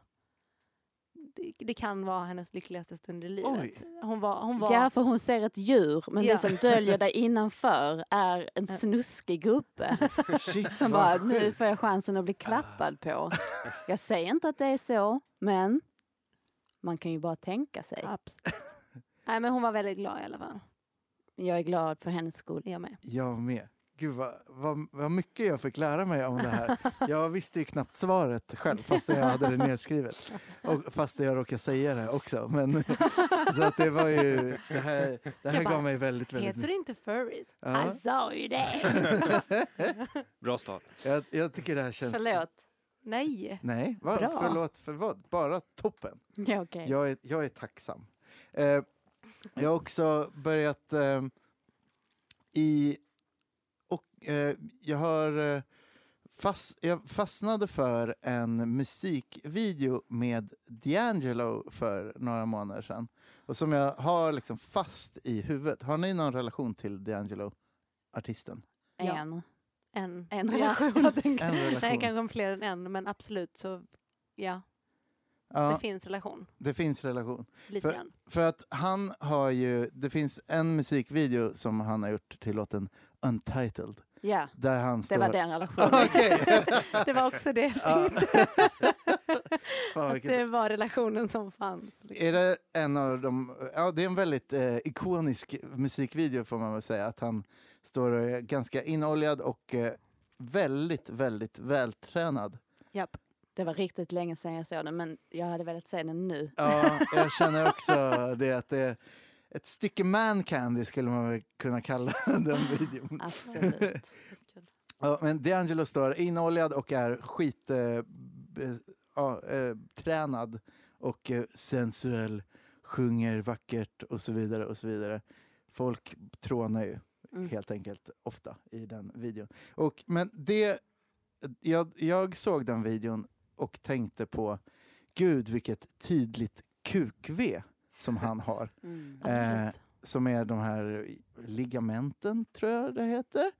Speaker 4: det, det kan vara hennes lyckligaste stund i livet. Hon var, hon var
Speaker 3: Ja, för hon ser ett djur, men
Speaker 4: Ja.
Speaker 3: det som döljer dig innanför är en
Speaker 4: Ja.
Speaker 3: snuskig gubbe
Speaker 1: Shit,
Speaker 3: som bara,
Speaker 1: vad
Speaker 3: nu
Speaker 1: sjukt.
Speaker 3: får jag chansen att bli klappad på. Jag säger inte att det är så, men man kan ju bara tänka sig.
Speaker 4: Absolut. Nej men hon var väldigt glad i alla fall.
Speaker 3: Jag är glad för hennes skull.
Speaker 4: Jag med.
Speaker 1: Jag med. Gud, vad, vad, vad mycket jag fick lära mig om det här. Jag visste ju knappt svaret själv, fast jag hade det nedskrivet. Och fast jag råkade säga det också. Men, så att det var ju... Det här, det här
Speaker 4: Jag bara,
Speaker 1: gav mig väldigt, väldigt
Speaker 4: Heter
Speaker 1: mycket.
Speaker 4: det inte furries?
Speaker 1: Ja,
Speaker 4: Jag sa ju det!
Speaker 2: Bra start.
Speaker 1: jag, jag tycker det här känns...
Speaker 3: Förlåt.
Speaker 4: Nej.
Speaker 1: Nej, va,
Speaker 4: Bra.
Speaker 1: förlåt för vad? Bara toppen.
Speaker 3: Ja, okej.
Speaker 1: Jag är, jag är tacksam. Eh, jag har också börjat eh, i... Och, eh, jag har eh, fast, jag fastnade för en musikvideo med D'Angelo för några månader sedan. Och som jag har liksom fast i huvudet. Har ni någon relation till D'Angelo? Artisten.
Speaker 4: Ja.
Speaker 3: En.
Speaker 4: En,
Speaker 3: En
Speaker 4: Ja,
Speaker 3: relation.
Speaker 4: jag tänker-
Speaker 1: En
Speaker 4: Nej,
Speaker 1: relation.
Speaker 4: kanske fler än en, men absolut så ja. Det
Speaker 1: Ja,
Speaker 4: finns relation.
Speaker 1: det finns relation.
Speaker 4: Lite
Speaker 1: För-
Speaker 4: grann.
Speaker 1: För att han har ju, det finns en musikvideo som han har gjort till låten Untitled.
Speaker 3: Ja,
Speaker 1: Där han
Speaker 3: det
Speaker 1: står...
Speaker 3: var den relationen.
Speaker 1: Okej!
Speaker 4: Det var också det jag
Speaker 1: Ja.
Speaker 4: tänkte.
Speaker 1: Fan,
Speaker 4: Att
Speaker 1: vilket-
Speaker 4: det var relationen som fanns. liksom.
Speaker 1: Är det en av de, ja det är en väldigt eh, ikonisk musikvideo får man väl säga. Att han står och är ganska inoljad och eh, väldigt, väldigt vältränad.
Speaker 4: Japp.
Speaker 3: Det var riktigt länge sedan jag såg den, men jag hade velat se den nu.
Speaker 1: Ja, jag känner också det att det är ett stycke man candy skulle man väl kunna kalla den videon.
Speaker 3: Absolut.
Speaker 1: Ja, men D'Angelo står inoljad och är skit... Eh, be- ja, eh, tränad och eh, sensuell, sjunger vackert och så vidare och så vidare. Folk trånar ju
Speaker 3: Mm.
Speaker 1: Eh, helt enkelt ofta i den videon. Och, men det... Jag, jag såg den videon och tänkte på gud vilket tydligt kukv som han har.
Speaker 3: Mm.
Speaker 1: Eh,
Speaker 4: Absolut.
Speaker 1: som är de här ligamenten, tror jag det heter.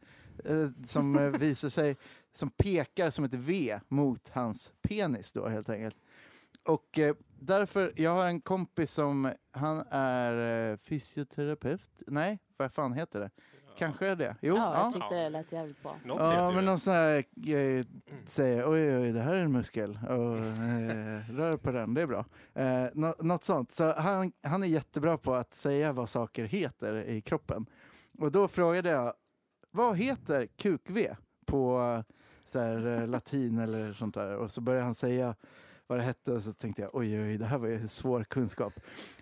Speaker 1: Eh, som eh, visar sig, som pekar som ett V mot hans penis då helt enkelt. Och eh, därför, jag har en kompis som, han är eh, fysioterapeut, nej vad fan heter det? Kanske är det? Jo,
Speaker 3: Ja,
Speaker 1: ja.
Speaker 3: jag tyckte det lät jävligt bra.
Speaker 2: Något
Speaker 1: Ja,
Speaker 2: vet
Speaker 1: men
Speaker 2: jag. Mm.
Speaker 1: någon sån här eh, säger oj, oj, det här är en muskel. Och, eh, rör på den, det är bra. Eh, nå- något sånt. Så han, han är jättebra på att säga vad saker heter i kroppen. Och då frågade jag, vad heter kukv på eh, så här, eh, latin eller sånt där? Och så började han säga vad det hette och så tänkte jag oj, oj, det här var ju svår kunskap.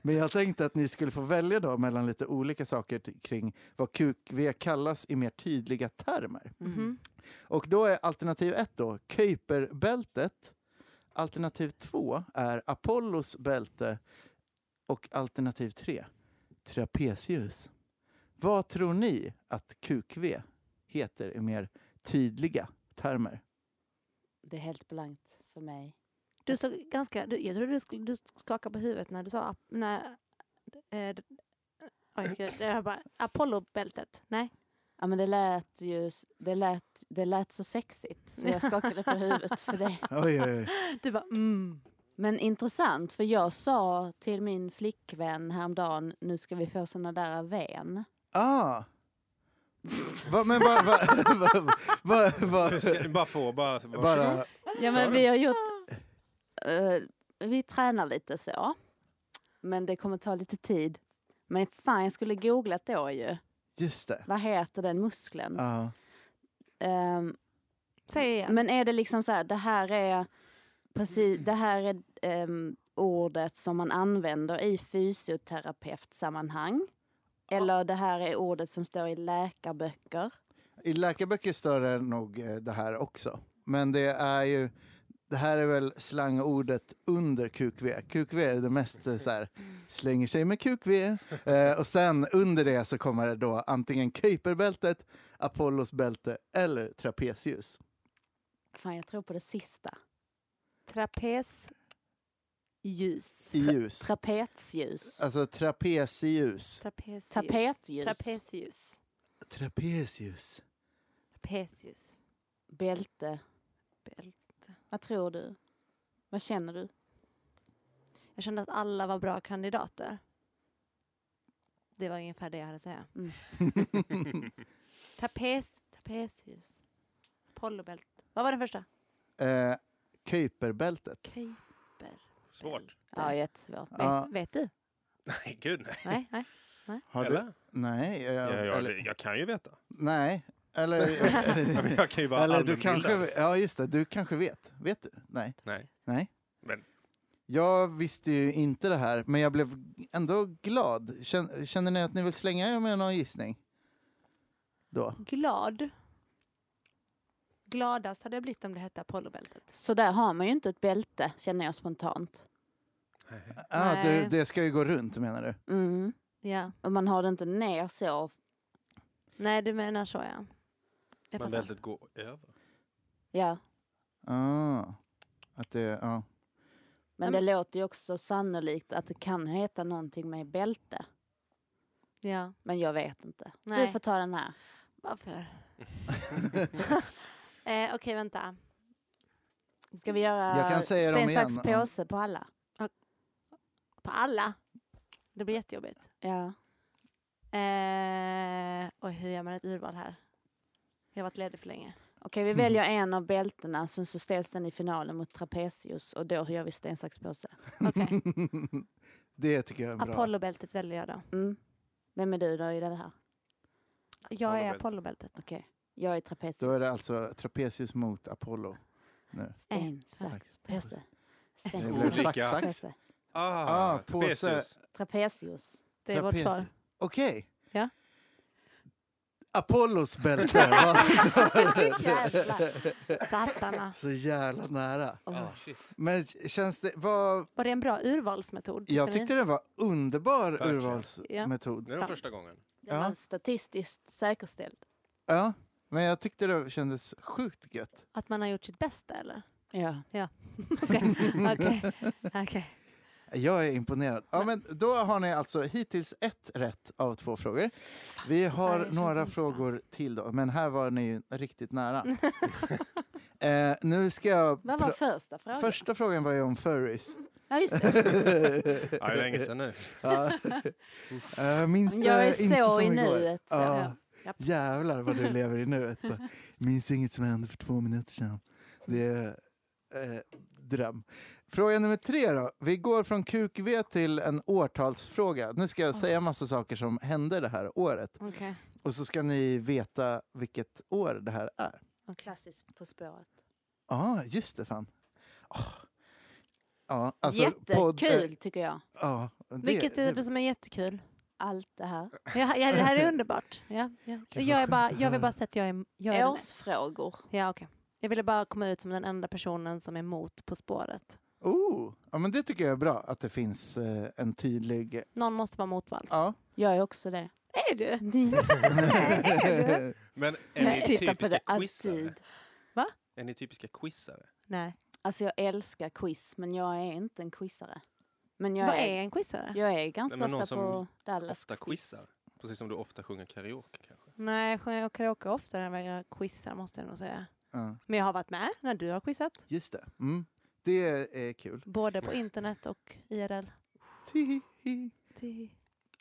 Speaker 1: Men jag tänkte att ni skulle få välja då mellan lite olika saker t- kring vad kukv kallas i mer tydliga termer.
Speaker 3: Mm.
Speaker 4: Mhm.
Speaker 1: Och då är alternativ ett då Kuiperbältet. Alternativ två är Apollos bälte. Och alternativ tre, trapezius. Vad tror ni att QQ heter i mer tydliga termer?
Speaker 3: Det är helt blankt för mig.
Speaker 4: Du såg ganska, du, jag trodde du, skulle, du skakade på huvudet när du sa ap- när, eh, d- oj, jag, jag bara, Apollo-bältet. Nej.
Speaker 3: Ja, men det lät ju, det lät, det lät så sexigt så jag skakade på huvudet för det.
Speaker 1: Oj, oj, oj.
Speaker 4: Du bara mm.
Speaker 3: Men intressant, för jag sa till min flickvän häromdagen, nu ska vi få såna där ven.
Speaker 1: Ah! Va, men vad... Va, va, va, va,
Speaker 2: Hur ska- Bara få, bara... varsågod.
Speaker 1: bara...
Speaker 3: Ja,
Speaker 2: Sa
Speaker 3: men
Speaker 2: du?
Speaker 3: vi har gjort... eh, vi tränar lite så. Men det kommer ta lite tid. Men fan, jag skulle googlat då ju.
Speaker 1: Just det.
Speaker 3: Vad heter den muskeln?
Speaker 1: Ja.
Speaker 3: Ehm,
Speaker 4: Säg igen.
Speaker 3: Men är det liksom så här, det här är, precis, det här är ehm, ordet som man använder i fysioterapeutsammanhang? Eller det här är ordet som står i läkarböcker?
Speaker 1: I läkarböcker står det nog eh, det här också. Men det är ju, det här är väl slangordet under QQ. QQ är det mest eh, så här, slänger sig med QQ. Eh, och sen under det så kommer det då antingen Kuiperbältet, Apollos bälte eller trapezius.
Speaker 3: Fan, jag tror på det sista.
Speaker 4: Trapezljus.
Speaker 1: I ljus.
Speaker 3: Trapetsljus.
Speaker 1: Alltså trapezius.
Speaker 4: Trapezljus.
Speaker 3: Tapetljus.
Speaker 4: Trapezljus.
Speaker 1: Trapezius.
Speaker 4: Trapezljus.
Speaker 3: Bälte.
Speaker 4: Bäl-
Speaker 3: Vad tror du? Vad känner du?
Speaker 4: Jag kände att alla var bra kandidater. Det var ungefär det jag hade att säga.
Speaker 3: Mm.
Speaker 4: Trapez, trapezljus. Pollobält. Vad var den första?
Speaker 1: eh, Kuiperbältet.
Speaker 4: Kuiper.
Speaker 2: Svårt.
Speaker 3: Ja, jättesvårt.
Speaker 1: Ja.
Speaker 4: Vet, vet du?
Speaker 2: Nej, gud nej.
Speaker 4: Nej, nej.
Speaker 1: Har du?
Speaker 2: Eller?
Speaker 1: Nej. eh,
Speaker 2: Jag, jag,
Speaker 1: eller,
Speaker 2: jag kan ju veta.
Speaker 1: nej.
Speaker 2: Ja, men
Speaker 1: Eller...
Speaker 2: Jag kan ju vara
Speaker 1: Eller du
Speaker 2: allmänbildad.
Speaker 1: kanske, ja just det, du kanske vet. Vet du? Nej.
Speaker 2: Nej.
Speaker 1: Nej.
Speaker 2: Men-
Speaker 1: Jag visste ju inte det här, men jag blev ändå glad. Kän- Känner ni att ni vill slänga er med någon gissning? Då.
Speaker 4: Glad. Gladast hade jag blivit om det hette Apollobältet.
Speaker 3: Så där har man ju inte ett bälte, känner jag spontant.
Speaker 1: Ah, du,
Speaker 4: Nej.
Speaker 1: det ska ju gå runt menar du?
Speaker 3: Mm.
Speaker 4: Ja.
Speaker 3: Och man har det inte ner så.
Speaker 4: Nej, du menar så ja. Jag
Speaker 2: Men
Speaker 4: fattar.
Speaker 2: väldigt gå över.
Speaker 3: Ja.
Speaker 1: Ah, att det, ja.
Speaker 3: Men det
Speaker 4: Men-
Speaker 3: låter ju också sannolikt att det kan heta någonting med bälte.
Speaker 4: Ja.
Speaker 3: Men jag vet inte.
Speaker 4: Nej.
Speaker 3: Du får ta den här.
Speaker 4: Varför? eh, Okej, vänta.
Speaker 3: Ska vi göra
Speaker 1: Jag kan säga dem
Speaker 3: sten, sax,
Speaker 1: igen, om-
Speaker 3: påse på alla?
Speaker 4: På alla. Det blir jättejobbigt.
Speaker 3: Ja.
Speaker 4: Eh, oj, hur gör man ett urval här? Jag har varit ledig för länge.
Speaker 3: Okej, vi väljer en av bältena, sen så ställs den i finalen mot trapezius och då gör vi sten, sax, påse.
Speaker 4: Okej.
Speaker 1: det tycker jag är bra.
Speaker 4: Apollobältet väljer jag då.
Speaker 3: Mm. Vem är du då i det här?
Speaker 4: Jag är
Speaker 2: Apollobältet.
Speaker 4: Apollobältet.
Speaker 3: Okej, jag är trapezius.
Speaker 1: Då är det alltså trapezius mot Apollo.
Speaker 3: Sten,
Speaker 1: Sax,
Speaker 3: sax, påse.
Speaker 1: Det
Speaker 3: Sten,
Speaker 1: blev
Speaker 2: Olika.
Speaker 1: sax,
Speaker 3: sax,
Speaker 1: sax.
Speaker 3: påse.
Speaker 2: Ah,
Speaker 1: Ah, påse.
Speaker 2: trapezius.
Speaker 3: Trapezius.
Speaker 4: Det är vårt
Speaker 1: Trapezi-
Speaker 4: svar.
Speaker 1: Okej.
Speaker 4: Ja.
Speaker 1: Apollos bälte var
Speaker 4: Jävlar. Sattarna.
Speaker 1: så jävla nära.
Speaker 2: Ah, shit.
Speaker 1: Men känns det... Vad,
Speaker 4: Var det en bra urvalsmetod? tyckte
Speaker 1: jag
Speaker 4: ni?
Speaker 1: tyckte det var underbar
Speaker 2: Verkligen.
Speaker 1: urvalsmetod.
Speaker 2: Det är den
Speaker 4: Ja.
Speaker 2: första gången.
Speaker 3: Den
Speaker 1: Ja.
Speaker 3: var statistiskt säkerställd.
Speaker 1: Ja, men jag tyckte det kändes sjukt gött.
Speaker 4: Att man har gjort sitt bästa eller?
Speaker 3: Ja.
Speaker 4: Okej. Okej. Okej.
Speaker 1: Jag är imponerad. Ja, men då har ni alltså hittills ett rätt av två frågor. Vi
Speaker 4: det
Speaker 1: har
Speaker 4: känns
Speaker 1: några
Speaker 4: inte så.
Speaker 1: frågor till då, men här var ni ju riktigt nära. eh, nu ska jag...
Speaker 3: Vad var
Speaker 1: pra-
Speaker 3: första frågan?
Speaker 1: Första frågan var ju om furries.
Speaker 3: Ja, just det.
Speaker 2: Ja, det är länge sedan nu.
Speaker 1: Ja. Jag minns
Speaker 3: Men jag
Speaker 1: det
Speaker 3: är
Speaker 1: inte
Speaker 3: så
Speaker 1: som
Speaker 3: i
Speaker 1: igår.
Speaker 3: nuet, så-
Speaker 1: Ja.
Speaker 4: Japp.
Speaker 1: Jävlar vad du lever i nuet. Bara, Minns inget som hände för två minuter sedan. Det är eh, dröm. Fråga nummer tre då. Vi går från QQV till en årtalsfråga. Nu ska jag säga massa saker som hände det här året.
Speaker 4: Okej.
Speaker 1: Och så ska ni veta vilket år det här är.
Speaker 3: Klassiskt På spåret.
Speaker 1: Ja, just det fan. Åh. Ja, alltså, podd- eh,
Speaker 3: Jättekul tycker jag.
Speaker 1: ja, det-
Speaker 4: Vilket är
Speaker 1: det-
Speaker 4: det som är jättekul?
Speaker 3: Allt det här.
Speaker 4: Ja, ja, det här är underbart. Ja, ja.
Speaker 1: Gud, vad
Speaker 4: Jag, är bara,
Speaker 1: skönt att
Speaker 4: jag
Speaker 1: höra.
Speaker 4: vill bara säga att jag är... Jag är
Speaker 3: Årsfrågor.
Speaker 4: ja, okej. Jag ville bara komma ut som den enda personen som är emot På spåret.
Speaker 1: Oh, ja, men det tycker jag är bra, att det finns eh, en tydlig...
Speaker 4: Någon måste vara motvalls.
Speaker 1: Ja.
Speaker 3: Jag är också det.
Speaker 4: Är du?
Speaker 2: Men är
Speaker 3: Jag
Speaker 2: ni
Speaker 3: tittar på
Speaker 2: typiska
Speaker 3: det
Speaker 2: quizare?
Speaker 3: alltid.
Speaker 2: Är ni typiska quizare?
Speaker 4: Nej.
Speaker 3: Alltså jag älskar quiz, men jag är inte en quizare. Men jag
Speaker 4: Vad
Speaker 3: är,
Speaker 4: är en quizare?
Speaker 3: jag är ganska
Speaker 2: Nej, men någon
Speaker 3: ofta på
Speaker 2: som
Speaker 3: Dallas
Speaker 2: Ofta quizar. Precis som du ofta sjunger karaoke kanske.
Speaker 4: Nej, jag sjunger karaoke oftare än vad jag quizar måste jag nog säga.
Speaker 1: ja,
Speaker 4: Men jag har varit med när du har quizat.
Speaker 1: just det. Mm. Det är kul.
Speaker 4: Både på internet och IRL.
Speaker 1: Tihihi.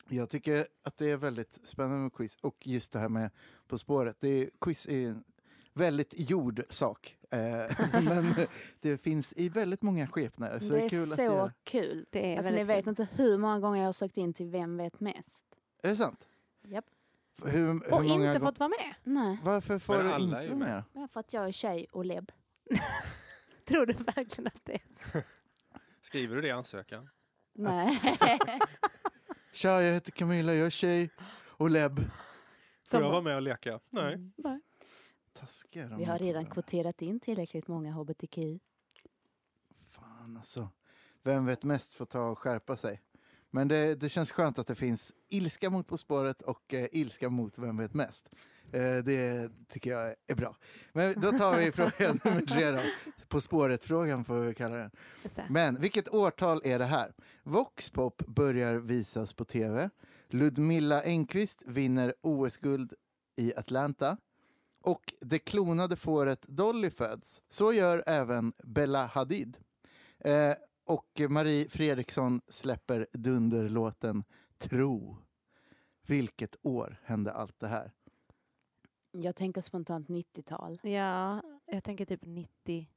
Speaker 1: Jag tycker att det är väldigt spännande med quiz. Och just det här med På spåret. Det är, quiz är ju en väldigt gjord sak. Eh, men det finns i väldigt många skepnader. Så det är, kul
Speaker 3: så
Speaker 1: att det är...
Speaker 3: kul.
Speaker 4: Det är
Speaker 3: Alltså ni
Speaker 4: väldigt
Speaker 3: vet
Speaker 4: kul.
Speaker 3: inte hur många gånger jag har sökt in till Vem vet mest?
Speaker 1: Är det sant?
Speaker 3: Japp.
Speaker 1: Hur, hur
Speaker 4: Och
Speaker 1: många
Speaker 4: inte
Speaker 1: gång-
Speaker 4: fått vara med.
Speaker 3: Nej,
Speaker 1: Varför får
Speaker 2: Men
Speaker 1: du
Speaker 2: alla
Speaker 1: inte
Speaker 2: är ju
Speaker 1: vara
Speaker 2: med.
Speaker 1: med?
Speaker 3: men för att jag är tjej och lebb.
Speaker 4: Tror du verkligen att det är
Speaker 2: Skriver du det i ansökan?
Speaker 3: Nej.
Speaker 1: Tja, jag heter Camilla, jag är tjej och lebb.
Speaker 2: Får jag vara med och leka? Nej.
Speaker 3: Mm.
Speaker 4: Nej.
Speaker 1: Taskiga de
Speaker 3: Vi
Speaker 1: här
Speaker 3: har redan
Speaker 1: poddarna.
Speaker 3: kvoterat in tillräckligt många hbtq.
Speaker 1: Fan alltså. Vem vet mest får ta och skärpa sig. Men det, det känns skönt att det finns ilska mot På spåret och eh, ilska mot Vem vet mest. Eh, det tycker jag är bra. Men då tar vi fråga nummer tre då. På spåret-frågan får vi kalla den.
Speaker 4: Just det.
Speaker 1: Men vilket årtal är det här? Voxpop börjar visas på tv. Ludmilla Engqvist vinner OS-guld i Atlanta. Och det klonade fåret Dolly föds. Så gör även Bella Hadid. Eh, och Marie Fredriksson släpper dunderlåten Tro. Vilket år hände allt det här?
Speaker 3: Jag tänker spontant 90-tal.
Speaker 4: Ja, jag tänker typ 90...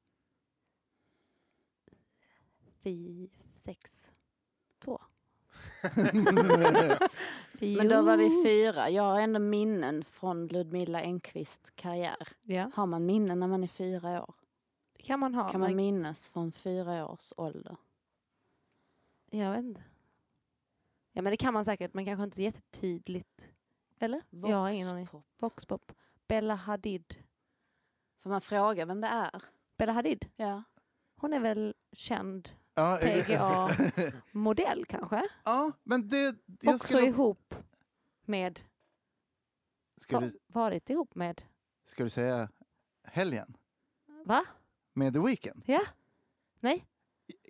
Speaker 4: 6... 2.
Speaker 3: Men då var vi fyra. Jag har ändå minnen från Ludmilla Engqvists karriär.
Speaker 4: Ja,
Speaker 3: Har man minnen när man är fyra år?
Speaker 4: det kan man ha.
Speaker 3: Kan
Speaker 4: men
Speaker 3: man minnas från fyra års ålder?
Speaker 4: jag vet inte. Ja, men det kan man säkert, men kanske inte så jättetydligt. Eller? Jag har ingen aning.
Speaker 3: Voxpop.
Speaker 4: Voxpop. Bella Hadid.
Speaker 3: Får man fråga vem det är?
Speaker 4: Bella Hadid,
Speaker 3: Ja.
Speaker 4: hon är väl känd
Speaker 1: Ja, jag-
Speaker 4: PGA. modell kanske?
Speaker 1: ja men det...
Speaker 4: Också ihop med...
Speaker 1: ska, du,
Speaker 4: va- Varit ihop med...
Speaker 1: ska du säga helgen?
Speaker 4: Va?
Speaker 1: Med The Weeknd?
Speaker 4: Ja. Nej.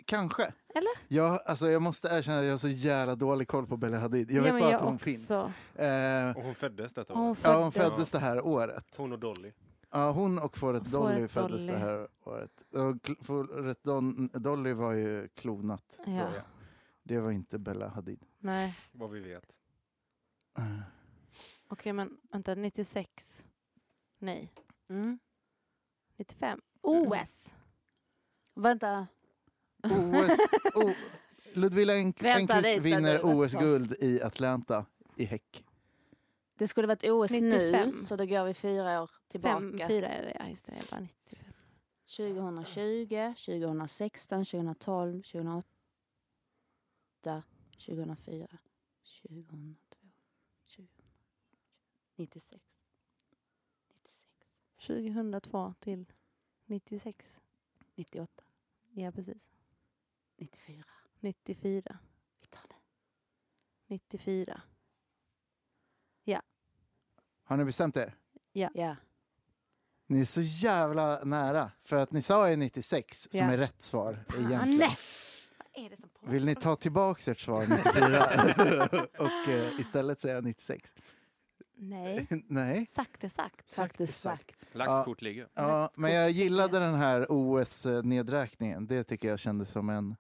Speaker 1: Kanske.
Speaker 4: Eller?
Speaker 1: Jag, alltså, jag måste erkänna att jag har så jävla dålig koll på Bella Hadid. Jag
Speaker 4: Ja,
Speaker 1: vet
Speaker 4: men
Speaker 1: bara
Speaker 4: jag
Speaker 1: att hon
Speaker 4: också.
Speaker 1: finns. Eh,
Speaker 2: Och hon föddes detta
Speaker 4: Hon
Speaker 2: året.
Speaker 1: ja, hon
Speaker 4: föddes.
Speaker 1: föddes det här året.
Speaker 2: Hon och Dolly.
Speaker 1: Ja, hon och Fåret
Speaker 4: Fåret
Speaker 1: Dolly föddes det
Speaker 4: Dolly.
Speaker 1: här året. Och kl- Fåret Don- Dolly var ju klonat.
Speaker 4: Ja.
Speaker 2: Ja,
Speaker 1: Det var inte Bella Hadid. Eh,
Speaker 4: Nej,
Speaker 2: vad vi vet.
Speaker 4: okej men vänta, 96. Nej,
Speaker 3: Mm.
Speaker 4: 95. OS!
Speaker 3: Vänta.
Speaker 1: OS, o, Ludvilla Enk-
Speaker 3: Vänta lite
Speaker 1: Enqvist
Speaker 3: nu,
Speaker 1: vinner
Speaker 3: vad sa-
Speaker 1: OS-guld i Atlanta i häck.
Speaker 3: Det skulle varit OS
Speaker 4: 95.
Speaker 3: nu, så då går vi fyra år tillbaka.
Speaker 4: Fem, fyra är det, ja just det, jag bara 95.
Speaker 3: 2020, 2016, 2012, 2008, 2004, 2002, 2000, 96. 96,
Speaker 4: 2002 till 96.
Speaker 3: 98,
Speaker 4: Ja precis.
Speaker 3: 94.
Speaker 4: 94.
Speaker 3: Vi tar det.
Speaker 4: 94.
Speaker 1: Har ni bestämt er?
Speaker 3: Ja.
Speaker 1: Ni är så jävla nära. För att ni sa ju 96 som
Speaker 4: Ja.
Speaker 1: är rätt svar egentligen.
Speaker 4: Anne! Vad är det som pågår?
Speaker 1: Vill ni ta tillbaka ert svar 94 och eh, istället säga 96?
Speaker 4: Nej,
Speaker 1: Nej.
Speaker 4: sagt är sagt.
Speaker 3: Sagt är sagt.
Speaker 2: Lagt
Speaker 1: Ja.
Speaker 2: kort ligger.
Speaker 1: Ja, men jag gillade den här OS-nedräkningen. Det tycker jag kändes som en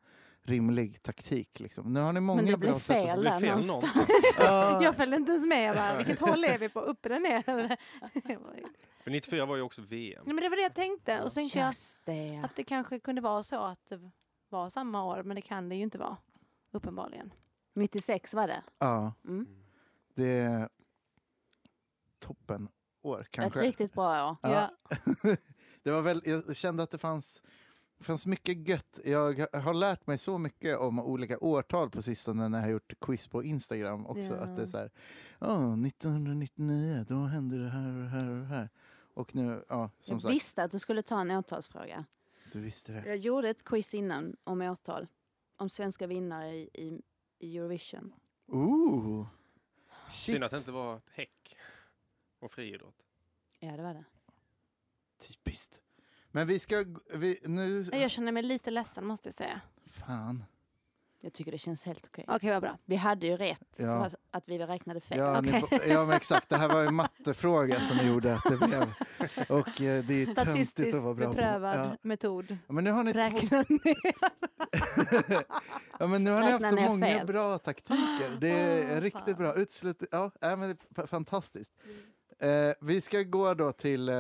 Speaker 1: rimlig taktik. Liksom. Nu har ni många
Speaker 3: Men det
Speaker 1: bra
Speaker 3: blev
Speaker 1: sätt
Speaker 2: Det
Speaker 3: fel
Speaker 2: blir
Speaker 3: där
Speaker 2: fel
Speaker 3: någonstans.
Speaker 2: någonstans.
Speaker 1: Ja,
Speaker 4: Jag följde inte ens med, jag bara, vilket håll är vi på? Upp eller ner? Jag bara, Nej,
Speaker 2: För 94 var ju också VM.
Speaker 4: men det var det jag tänkte och sen tänkte jag
Speaker 3: Just det.
Speaker 4: att det kanske kunde vara så att det var samma år men det kan det ju inte vara. Uppenbarligen.
Speaker 3: 96 var det.
Speaker 1: ja,
Speaker 3: Mm.
Speaker 1: det är toppen år kanske.
Speaker 3: Ett riktigt bra år.
Speaker 1: Ja. Det var väl, jag kände att det fanns, fanns mycket gött. Jag har lärt mig så mycket om olika årtal på sistone när jag har gjort quiz på Instagram också.
Speaker 4: Ja.
Speaker 1: Att det är så här, "Ja, 1999, då hände det här och det här och det här. Och nu, ja, som
Speaker 3: Jag
Speaker 1: sagt,
Speaker 3: visste att du skulle ta en årtalsfråga.
Speaker 1: du visste
Speaker 4: Eh.
Speaker 1: det.
Speaker 3: Jag gjorde ett quiz innan om årtal. Om svenska vinnare i, i, i Eurovision.
Speaker 1: Ooh. Shit,
Speaker 2: Synd att det inte var häck och friidrott.
Speaker 3: Ja, det var det.
Speaker 1: typiskt. Men vi ska, g- vi, nu,
Speaker 4: Nej, Jag känner mig lite ledsen måste jag säga.
Speaker 1: fan.
Speaker 3: Jag tycker det känns helt okej.
Speaker 4: Okej, vad bra.
Speaker 3: Vi hade ju rätt
Speaker 1: Ja.
Speaker 3: för att- att vi räknade fel.
Speaker 1: Ja, ni,
Speaker 4: Okej.
Speaker 1: bo- ja men exakt, det här var ju en mattefråga som gjorde att det blev, och eh, det är ju töntigt
Speaker 4: Statistiskt
Speaker 1: att vara bra på.
Speaker 4: beprövad
Speaker 1: Ja.
Speaker 4: metod.
Speaker 1: Ja, Men nu har ni två
Speaker 4: Räkna ner.
Speaker 1: ja, men nu har ni
Speaker 3: Räkna
Speaker 1: haft så
Speaker 3: ner
Speaker 1: många
Speaker 3: fel.
Speaker 1: bra taktiker. Det är
Speaker 4: Ah,
Speaker 1: riktigt
Speaker 4: fan.
Speaker 1: bra. Utslut, ja, äh, men det är f- fantastiskt.
Speaker 3: Mm.
Speaker 1: Eh, vi ska gå då till eh,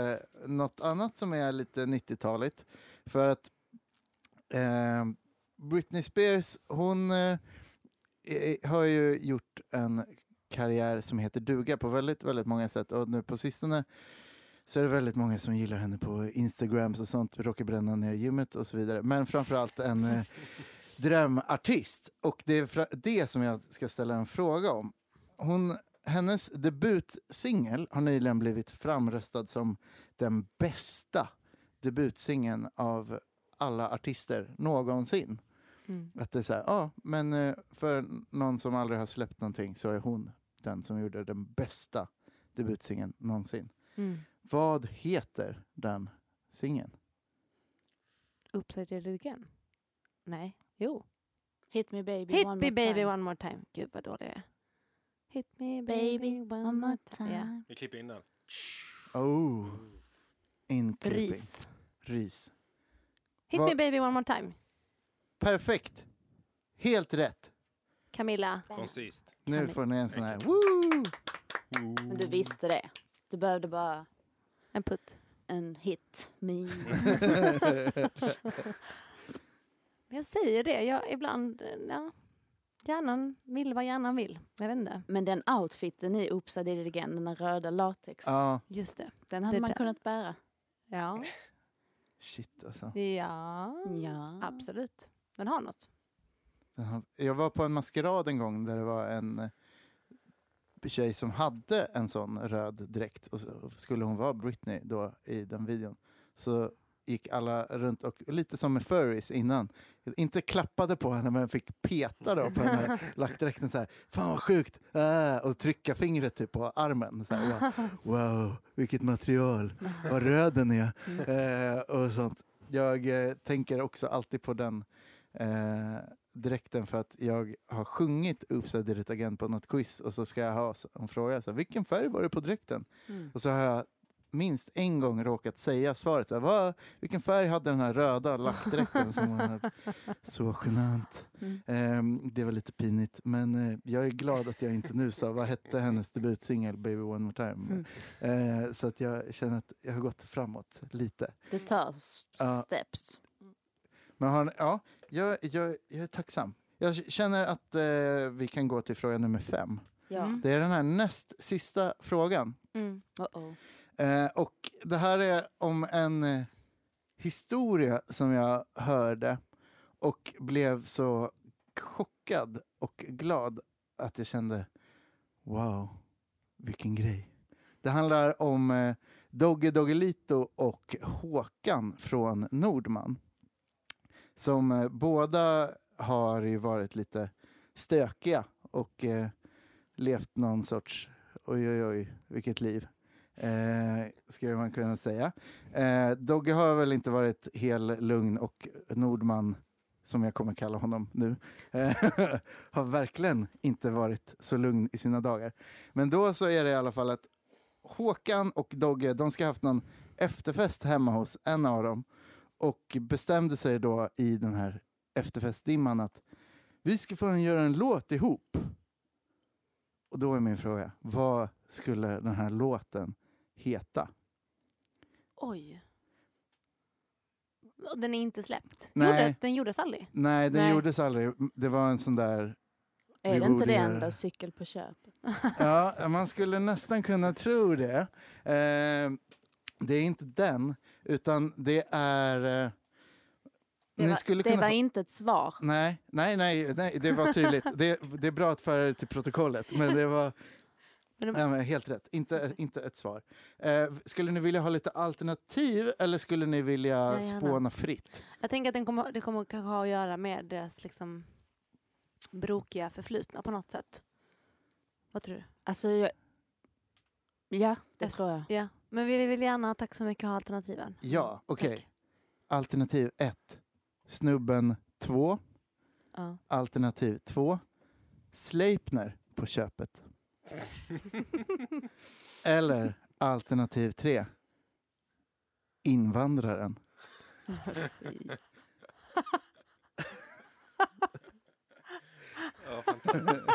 Speaker 1: något annat som är lite 90-taligt. För att eh, Britney Spears, hon eh, eh, har ju gjort en karriär som heter duga på väldigt, väldigt många sätt. Och nu på sistone så är det väldigt många som gillar henne på Instagrams och sånt, råkar bränna ner gymmet och så vidare. Men framförallt en eh, drömartist. Och det är fra- det som jag ska ställa en fråga om. Hon, hennes debutsingel har nyligen blivit framröstad som den bästa debutsingeln av alla artister någonsin.
Speaker 4: Mm.
Speaker 1: Att det är så här, ja, men eh, för någon som aldrig har släppt någonting så är hon den som gjorde den bästa debutsingeln någonsin.
Speaker 4: Mm.
Speaker 1: Vad heter den singeln?
Speaker 4: Upside down again? Nej, jo.
Speaker 3: Hit me baby
Speaker 4: Hit
Speaker 3: one
Speaker 4: me
Speaker 3: more
Speaker 4: baby
Speaker 3: time.
Speaker 4: one more time. Gud vad dålig jag är. Hit me baby,
Speaker 3: Baby
Speaker 4: one more time. Ja.
Speaker 2: Vi klipper in den.
Speaker 1: Oh, inklipping.
Speaker 4: Ris.
Speaker 1: Ris.
Speaker 4: Hit
Speaker 1: Vad-
Speaker 4: me baby one more time.
Speaker 1: Perfekt. Helt rätt.
Speaker 4: Camilla.
Speaker 2: Koncist.
Speaker 1: Nu
Speaker 4: Härligt.
Speaker 1: får ni en sån här... Woo!
Speaker 3: Men du visste det. Du behövde bara
Speaker 4: En putt.
Speaker 3: en hit me.
Speaker 4: Men jag säger det, jag ibland, eh, ja. Hjärnan vill vad hjärnan vill. Jag vet inte.
Speaker 3: Men den outfiten i Upside Down Again, den där röda latex,
Speaker 1: Ja,
Speaker 4: Just det.
Speaker 3: den hade
Speaker 4: det
Speaker 3: man
Speaker 4: där.
Speaker 3: kunnat bära.
Speaker 4: Ja.
Speaker 1: shit alltså.
Speaker 4: Ja.
Speaker 3: Ja.
Speaker 4: Absolut. Den har något.
Speaker 1: Den har- Jag var på en maskerad en gång där det var en eh, tjej som hade en sån röd dräkt och så skulle hon vara Britney då i den videon. Så gick alla runt och lite som med furries innan, inte klappade på henne men fick peta då på den här lackdräkten så här, fan vad sjukt, äh, och trycka fingret typ på armen. Så här, och bara, wow, vilket material, vad röd den är. Eh, och sånt. Jag eh, tänker också alltid på den eh, dräkten för att jag har sjungit Upside Direkt Again på något quiz och så ska jag ha s- en fråga. Så här, Vilken färg var det på dräkten?
Speaker 3: Mm.
Speaker 1: Och så har jag minst en gång råkat säga svaret. Så här, "Va? vilken färg hade den här röda lackdräkten som hon hade? Så genant.
Speaker 3: Mm.
Speaker 1: Ehm, det var lite pinigt, men eh, jag är glad att jag inte nu sa vad hette hennes debutsingel Baby One More Time. Eh, så att jag känner att jag har gått framåt lite.
Speaker 3: Det tar s-
Speaker 1: Ja.
Speaker 3: steps.
Speaker 1: Men har, ni- ja, jag, jag, jag är tacksam. Jag känner att eh, vi kan gå till fråga nummer fem.
Speaker 3: Ja.
Speaker 4: Mm.
Speaker 1: Det är den här näst sista frågan.
Speaker 4: Mm.
Speaker 3: Uh-oh.
Speaker 1: Eh, och det här är om en eh, historia som jag hörde och blev så chockad och glad att jag kände wow, vilken grej. Det handlar om eh, Dogge Doggelito och Håkan från Nordman. Som eh, båda har ju varit lite stökiga och eh, levt någon sorts oj, oj, oj, vilket liv. Eh, skulle man kunna säga. Eh, Dogge har väl inte varit hel lugn och Nordman, som jag kommer kalla honom nu, eh, har verkligen inte varit så lugn i sina dagar. Men då så är det i alla fall att Håkan och Dogge, de ska ha haft någon efterfest hemma hos en av dem och bestämde sig då i den här efterfestdimman att vi ska fan göra en låt ihop. Och då är min fråga, vad skulle den här låten heta?
Speaker 4: Oj. Och Den är inte släppt.
Speaker 1: Nej.
Speaker 4: Gjorde, den gjordes aldrig.
Speaker 1: Nej, den
Speaker 4: Nej.
Speaker 1: gjordes aldrig. Det var en sån där... Vi
Speaker 3: Är det inte
Speaker 1: borde
Speaker 3: det
Speaker 1: göra
Speaker 3: ändå
Speaker 1: det.
Speaker 3: cykel på köpet?
Speaker 1: Ja, man skulle nästan kunna tro det. Eh, det är inte den, utan det är... Eh,
Speaker 3: Det,
Speaker 1: ni
Speaker 3: var,
Speaker 1: skulle
Speaker 3: det
Speaker 1: kunna
Speaker 3: var
Speaker 1: få-
Speaker 3: inte ett svar.
Speaker 1: Nej, nej, nej, nej, det var tydligt. det, det är bra att föra det till protokollet, men det var...
Speaker 4: Men det-
Speaker 1: Nej, men helt rätt, inte, inte ett svar. Eh, skulle ni vilja ha lite alternativ eller skulle ni vilja
Speaker 4: Ja, gärna.
Speaker 1: spåna fritt?
Speaker 4: Jag tänker att den kommer, det kommer kanske ha att göra med deras liksom, brokiga förflutna på något sätt. Vad tror du?
Speaker 3: Alltså, jag... Ja, det
Speaker 4: Efter-
Speaker 3: tror jag.
Speaker 4: Ja. Men vi vill gärna, tack så mycket, ha alternativen.
Speaker 1: Ja, okej.
Speaker 4: Mm, Tack.
Speaker 1: Alternativ 1, Snubben 2.
Speaker 4: Ja.
Speaker 1: Alternativ 2. Sleipner på köpet. Eller alternativ 3. Invandraren.
Speaker 2: Ja, fantastiskt.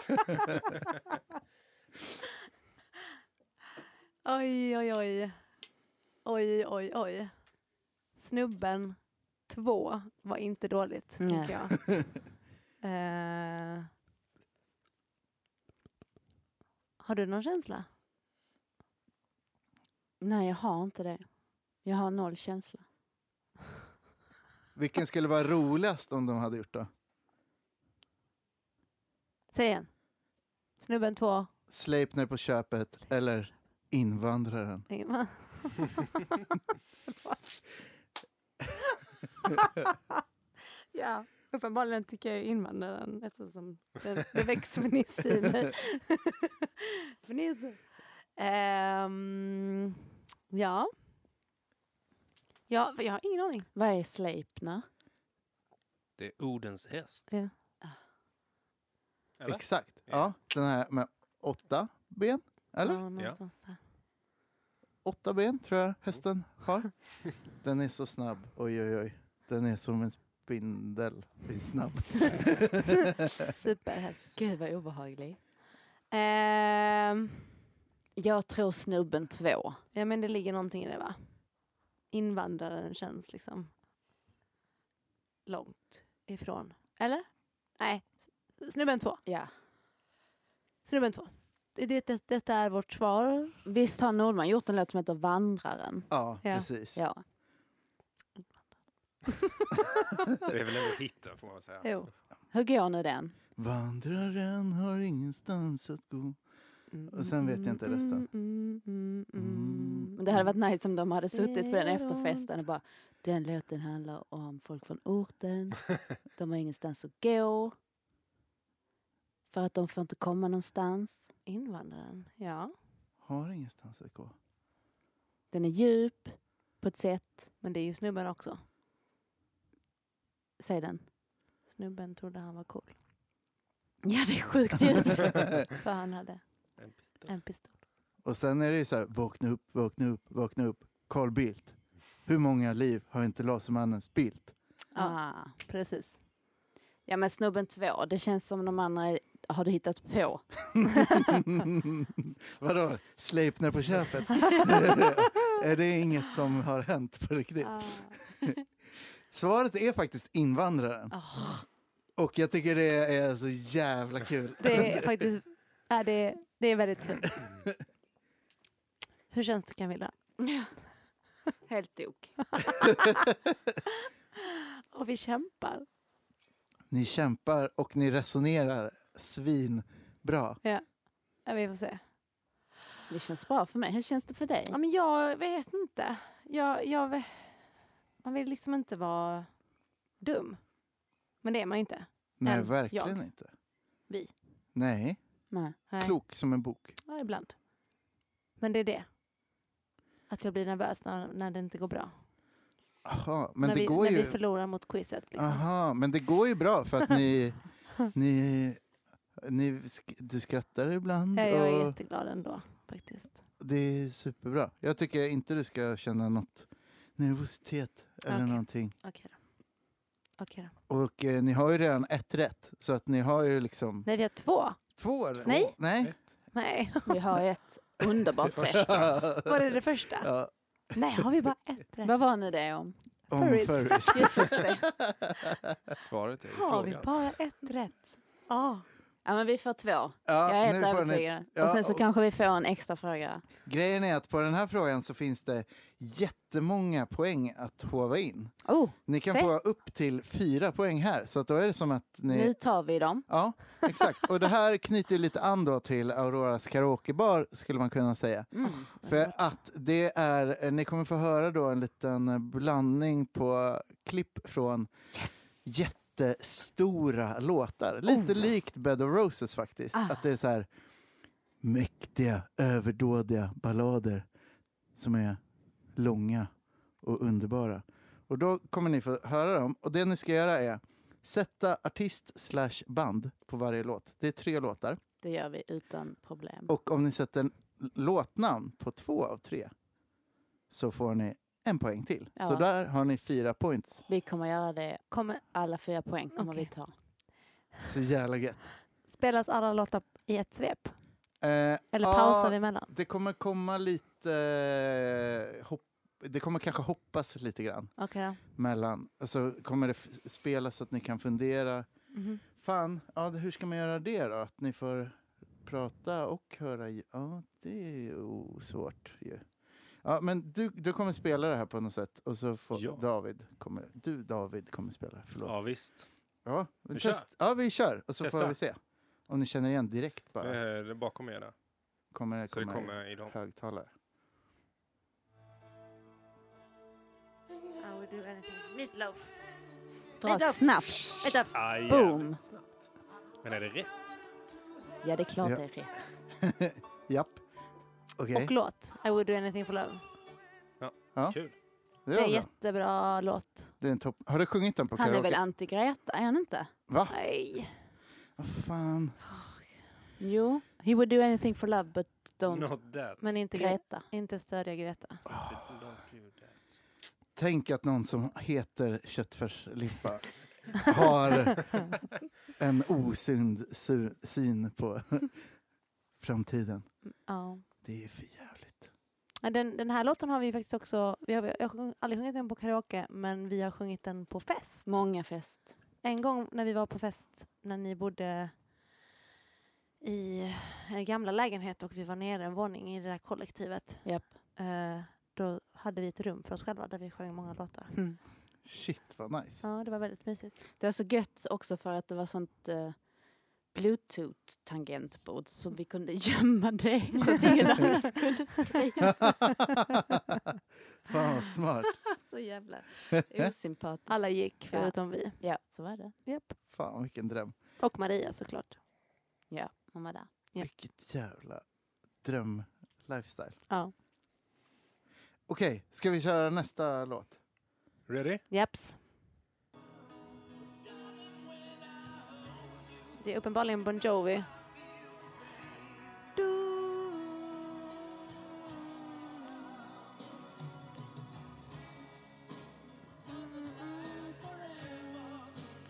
Speaker 4: Oj, oj, oj. Oj, oj, oj. Snubben två var inte dåligt,
Speaker 3: Nej.
Speaker 4: tycker jag. Eh. Har du någon känsla?
Speaker 3: Nej, jag har inte det. Jag har noll känsla.
Speaker 1: Vilken skulle vara roligast om de hade gjort det?
Speaker 4: Säg igen. Snubben två.
Speaker 1: Sleipner på köpet eller invandraren?
Speaker 4: Ingmar. ja, uppenbarligen tycker jag ju invandraren eftersom det, det väcks fniss i mig. fniss. Ehm, ja. ja, jag har ingen aning.
Speaker 3: Vad är Sleipner?
Speaker 2: Det är Odens häst.
Speaker 4: Ja.
Speaker 2: Eller?
Speaker 1: Exakt.
Speaker 2: Ja.
Speaker 1: Ja, den här med åtta ben. Eller?
Speaker 4: Ja, någonstans där.
Speaker 1: Åtta ben tror jag hästen har. Den är så snabb. Oj, oj, oj. Den är som en spindel i snabb.
Speaker 4: Superhäst.
Speaker 3: Gud vad obehaglig.
Speaker 4: Ehm,
Speaker 3: Jag tror snubben två.
Speaker 4: ja, men det ligger någonting i det va? Invandraren känns liksom långt ifrån. Eller? Nej, S- snubben två.
Speaker 3: Ja.
Speaker 4: Snubben två. Det, det, det, detta är vårt svar.
Speaker 3: Visst har Nordman gjort en låt som heter Vandraren?
Speaker 1: Ja,
Speaker 4: Ja.
Speaker 1: precis.
Speaker 3: Ja.
Speaker 2: Det är väl ändå hitta får man säga.
Speaker 4: Jo.
Speaker 3: Hur går nu den?
Speaker 1: Vandraren har ingenstans att gå. Mm. Och sen vet jag inte resten.
Speaker 4: Mm, mm, mm,
Speaker 3: Men det hade varit nice om de hade suttit på den
Speaker 4: Det är
Speaker 3: efterfesten och bara Den låten handlar om folk från orten. De har ingenstans att gå. För att de får inte komma någonstans.
Speaker 4: Invandraren, ja.
Speaker 1: Har ingenstans att gå.
Speaker 3: Den är djup på ett sätt.
Speaker 4: Men det är ju snubben också.
Speaker 3: Säg den.
Speaker 4: Snubben trodde han var cool.
Speaker 3: Ja, det är sjukt djupt.
Speaker 4: För han hade
Speaker 2: En pistol.
Speaker 4: en pistol.
Speaker 1: Och sen är det ju så här, vakna upp, vakna upp, vakna upp. Carl Bildt. Hur många liv har inte Lasermannen spilt?
Speaker 4: Ja.
Speaker 3: Ah.
Speaker 4: Precis.
Speaker 3: Ja men snubben två, det känns som de andra är- har du hittat på.
Speaker 1: Vadå, Sleipner på köpet? är det inget som har hänt på riktigt?
Speaker 4: Ah.
Speaker 1: Svaret är faktiskt invandraren.
Speaker 4: Ah.
Speaker 1: Och jag tycker det är så jävla kul.
Speaker 4: Det är faktiskt ja, det, det är väldigt kul. Hur känns det Camilla?
Speaker 3: Helt tok.
Speaker 4: Och vi kämpar.
Speaker 1: Ni kämpar och ni resonerar svinbra.
Speaker 4: Ja, vi får se.
Speaker 3: Det känns bra för mig. Hur känns det för dig?
Speaker 4: Ja, men jag vet inte. Jag, jag, ve- man vill liksom inte vara dum. Men det är man ju inte.
Speaker 1: Nej,
Speaker 4: Än
Speaker 1: verkligen
Speaker 4: jag.
Speaker 1: inte.
Speaker 4: Vi.
Speaker 1: Nej,
Speaker 3: Nej.
Speaker 4: Nej.
Speaker 1: klok som en bok.
Speaker 4: Ja, ibland. Men det är det. Att jag blir nervös när, när det inte går bra.
Speaker 1: Aha, men
Speaker 4: när
Speaker 1: det
Speaker 4: vi,
Speaker 1: går
Speaker 4: när
Speaker 1: ju...
Speaker 4: vi förlorar mot quizet. Liksom.
Speaker 1: Aha, men det går ju bra för att ni... ni, ni sk- du skrattar ibland.
Speaker 4: Ja, jag är
Speaker 1: och
Speaker 4: jätteglad ändå faktiskt.
Speaker 1: Det är superbra. Jag tycker inte du ska känna något nervositet eller
Speaker 4: Okej.
Speaker 1: någonting.
Speaker 4: Okej då. Okej då.
Speaker 1: Och eh, ni har ju redan ett rätt, så att ni har ju liksom
Speaker 4: Nej, vi har två.
Speaker 1: två rätt.
Speaker 4: Nej.
Speaker 1: Nej.
Speaker 2: Ett.
Speaker 4: Nej,
Speaker 3: Vi har ett underbart rätt.
Speaker 4: var det det första?
Speaker 1: ja,
Speaker 4: Nej, har vi bara ett rätt?
Speaker 3: Vad var nu det om?
Speaker 1: om
Speaker 4: Furries.
Speaker 1: furries.
Speaker 3: Just det.
Speaker 2: Svaret är ju
Speaker 4: Har vi
Speaker 2: frågan.
Speaker 4: bara ett rätt? Ja.
Speaker 3: Ja men vi får två.
Speaker 1: Ja,
Speaker 3: Jag är helt
Speaker 1: nu får ni-
Speaker 3: övertygad.
Speaker 1: Ja,
Speaker 3: och sen så
Speaker 1: och-
Speaker 3: kanske vi får en extra fråga.
Speaker 1: Grejen är att på den här frågan så finns det jättemånga poäng att hova in.
Speaker 3: Oh,
Speaker 1: Ni kan
Speaker 3: Fett.
Speaker 1: få upp till fyra poäng här, så att då är det som att ni...
Speaker 3: nu tar vi dem.
Speaker 1: Ja, exakt. Och det här knyter ju lite an då till Auroras karaokebar, skulle man kunna säga.
Speaker 3: Mm.
Speaker 1: För att det är, eh, ni kommer få höra då en liten eh, blandning på klipp från
Speaker 3: Yes! Oh.
Speaker 1: jättestora låtar. Lite likt Bed of Roses faktiskt.
Speaker 3: Ah.
Speaker 1: Att det är så här mäktiga, överdådiga ballader som är långa och underbara. Och då kommer ni få höra dem. Och det ni ska göra är sätta artist slash band på varje låt. Det är tre låtar.
Speaker 3: Det gör vi utan problem.
Speaker 1: Och om ni sätter en l- låtnamn på två av tre så får ni en poäng till. Så
Speaker 3: Ja.
Speaker 1: där har ni fyra points.
Speaker 3: Vi kommer göra det.
Speaker 4: Kommer,
Speaker 3: Alla fyra poäng kommer
Speaker 4: Okej.
Speaker 3: vi ta.
Speaker 1: Så jävla gött.
Speaker 4: spelas alla låtar i ett svep?
Speaker 1: Eh,
Speaker 4: Eller
Speaker 1: ja,
Speaker 4: pausar vi emellan?
Speaker 1: Det kommer komma lite... eh, Hopp, det kommer kanske hoppas lite grann
Speaker 4: Okej då.
Speaker 1: mellan. Alltså kommer det f- spelas så att ni kan fundera.
Speaker 4: Mhm.
Speaker 1: Fan, ja, det- hur ska man göra det då? Att ni får prata och höra? i- Ja, det är ju svårt ju. Ja, men du, du kommer spela det här på något sätt och så får
Speaker 2: Ja.
Speaker 1: David kommer, du David kommer spela. det. Förlåt.
Speaker 2: Ja, visst.
Speaker 1: Ja, vi
Speaker 2: Vi
Speaker 1: test, ja, vi kör och så får
Speaker 2: Testa.
Speaker 1: vi se. Om ni känner igen direkt
Speaker 2: Eh,
Speaker 1: bara.
Speaker 2: det är bakom er där.
Speaker 1: Kommer det
Speaker 2: Så det
Speaker 1: komma
Speaker 2: kommer i dem.
Speaker 1: högtalare?
Speaker 5: I would do anything. Meatloaf.
Speaker 3: Bra, snabbt.
Speaker 5: Meatloaf.
Speaker 2: Ah, jävligt
Speaker 3: Boom.
Speaker 2: Snabbt. Men är det rätt?
Speaker 3: Ja, det är klart
Speaker 1: Ja.
Speaker 3: det är rätt.
Speaker 1: Japp. Okej.
Speaker 4: Och låt. I would do anything for love.
Speaker 2: Kul.
Speaker 1: Det,
Speaker 4: Det är
Speaker 1: var bra.
Speaker 4: en jättebra låt.
Speaker 1: det är en topp. Har du sjungit den på
Speaker 3: Han är
Speaker 1: karaoke?
Speaker 3: väl anti-Greta, är han inte?
Speaker 1: Va?
Speaker 4: Nej.
Speaker 1: Vad fan.
Speaker 3: Jo. He would do anything for love but don't
Speaker 2: Not that.
Speaker 4: Men inte, Gre-
Speaker 3: Greta.
Speaker 4: inte stödja Greta.
Speaker 2: Don't do that.
Speaker 1: Tänk att någon som heter köttfärslimpa har en osund su- syn på framtiden.
Speaker 4: Ja.
Speaker 1: Det är ju för jävligt.
Speaker 4: Ja, Den, den här låten har vi faktiskt också, vi har, jag har sjung- aldrig sjungit den på karaoke, men vi har sjungit den på fest.
Speaker 3: Många fest.
Speaker 4: En gång när vi var på fest, när ni bodde i en gamla lägenhet och vi var nere en våning i det där kollektivet.
Speaker 3: Japp.
Speaker 4: Eh, då hade vi ett rum för oss själva där vi sjöng många låtar.
Speaker 1: Shit vad nice.
Speaker 4: Ja, det var väldigt mysigt.
Speaker 3: Det var så gött också för att det var sånt eh, bluetooth-tangentbord så vi kunde gömma det så att ingen annan skulle skriva.
Speaker 1: fan vad smart.
Speaker 3: Så jävla osympatiskt.
Speaker 4: Alla gick
Speaker 3: Ja.
Speaker 4: förutom vi.
Speaker 3: Ja, så var det.
Speaker 4: Japp.
Speaker 1: Fan vilken dröm.
Speaker 4: Och Maria såklart.
Speaker 3: Ja, hon var där.
Speaker 4: Ja.
Speaker 1: Vilket jävla dröm-lifestyle.
Speaker 4: Ja.
Speaker 1: Okej, ska vi köra nästa låt?
Speaker 2: Ready?
Speaker 4: Japs. Det är uppenbarligen Bon Jovi. Du,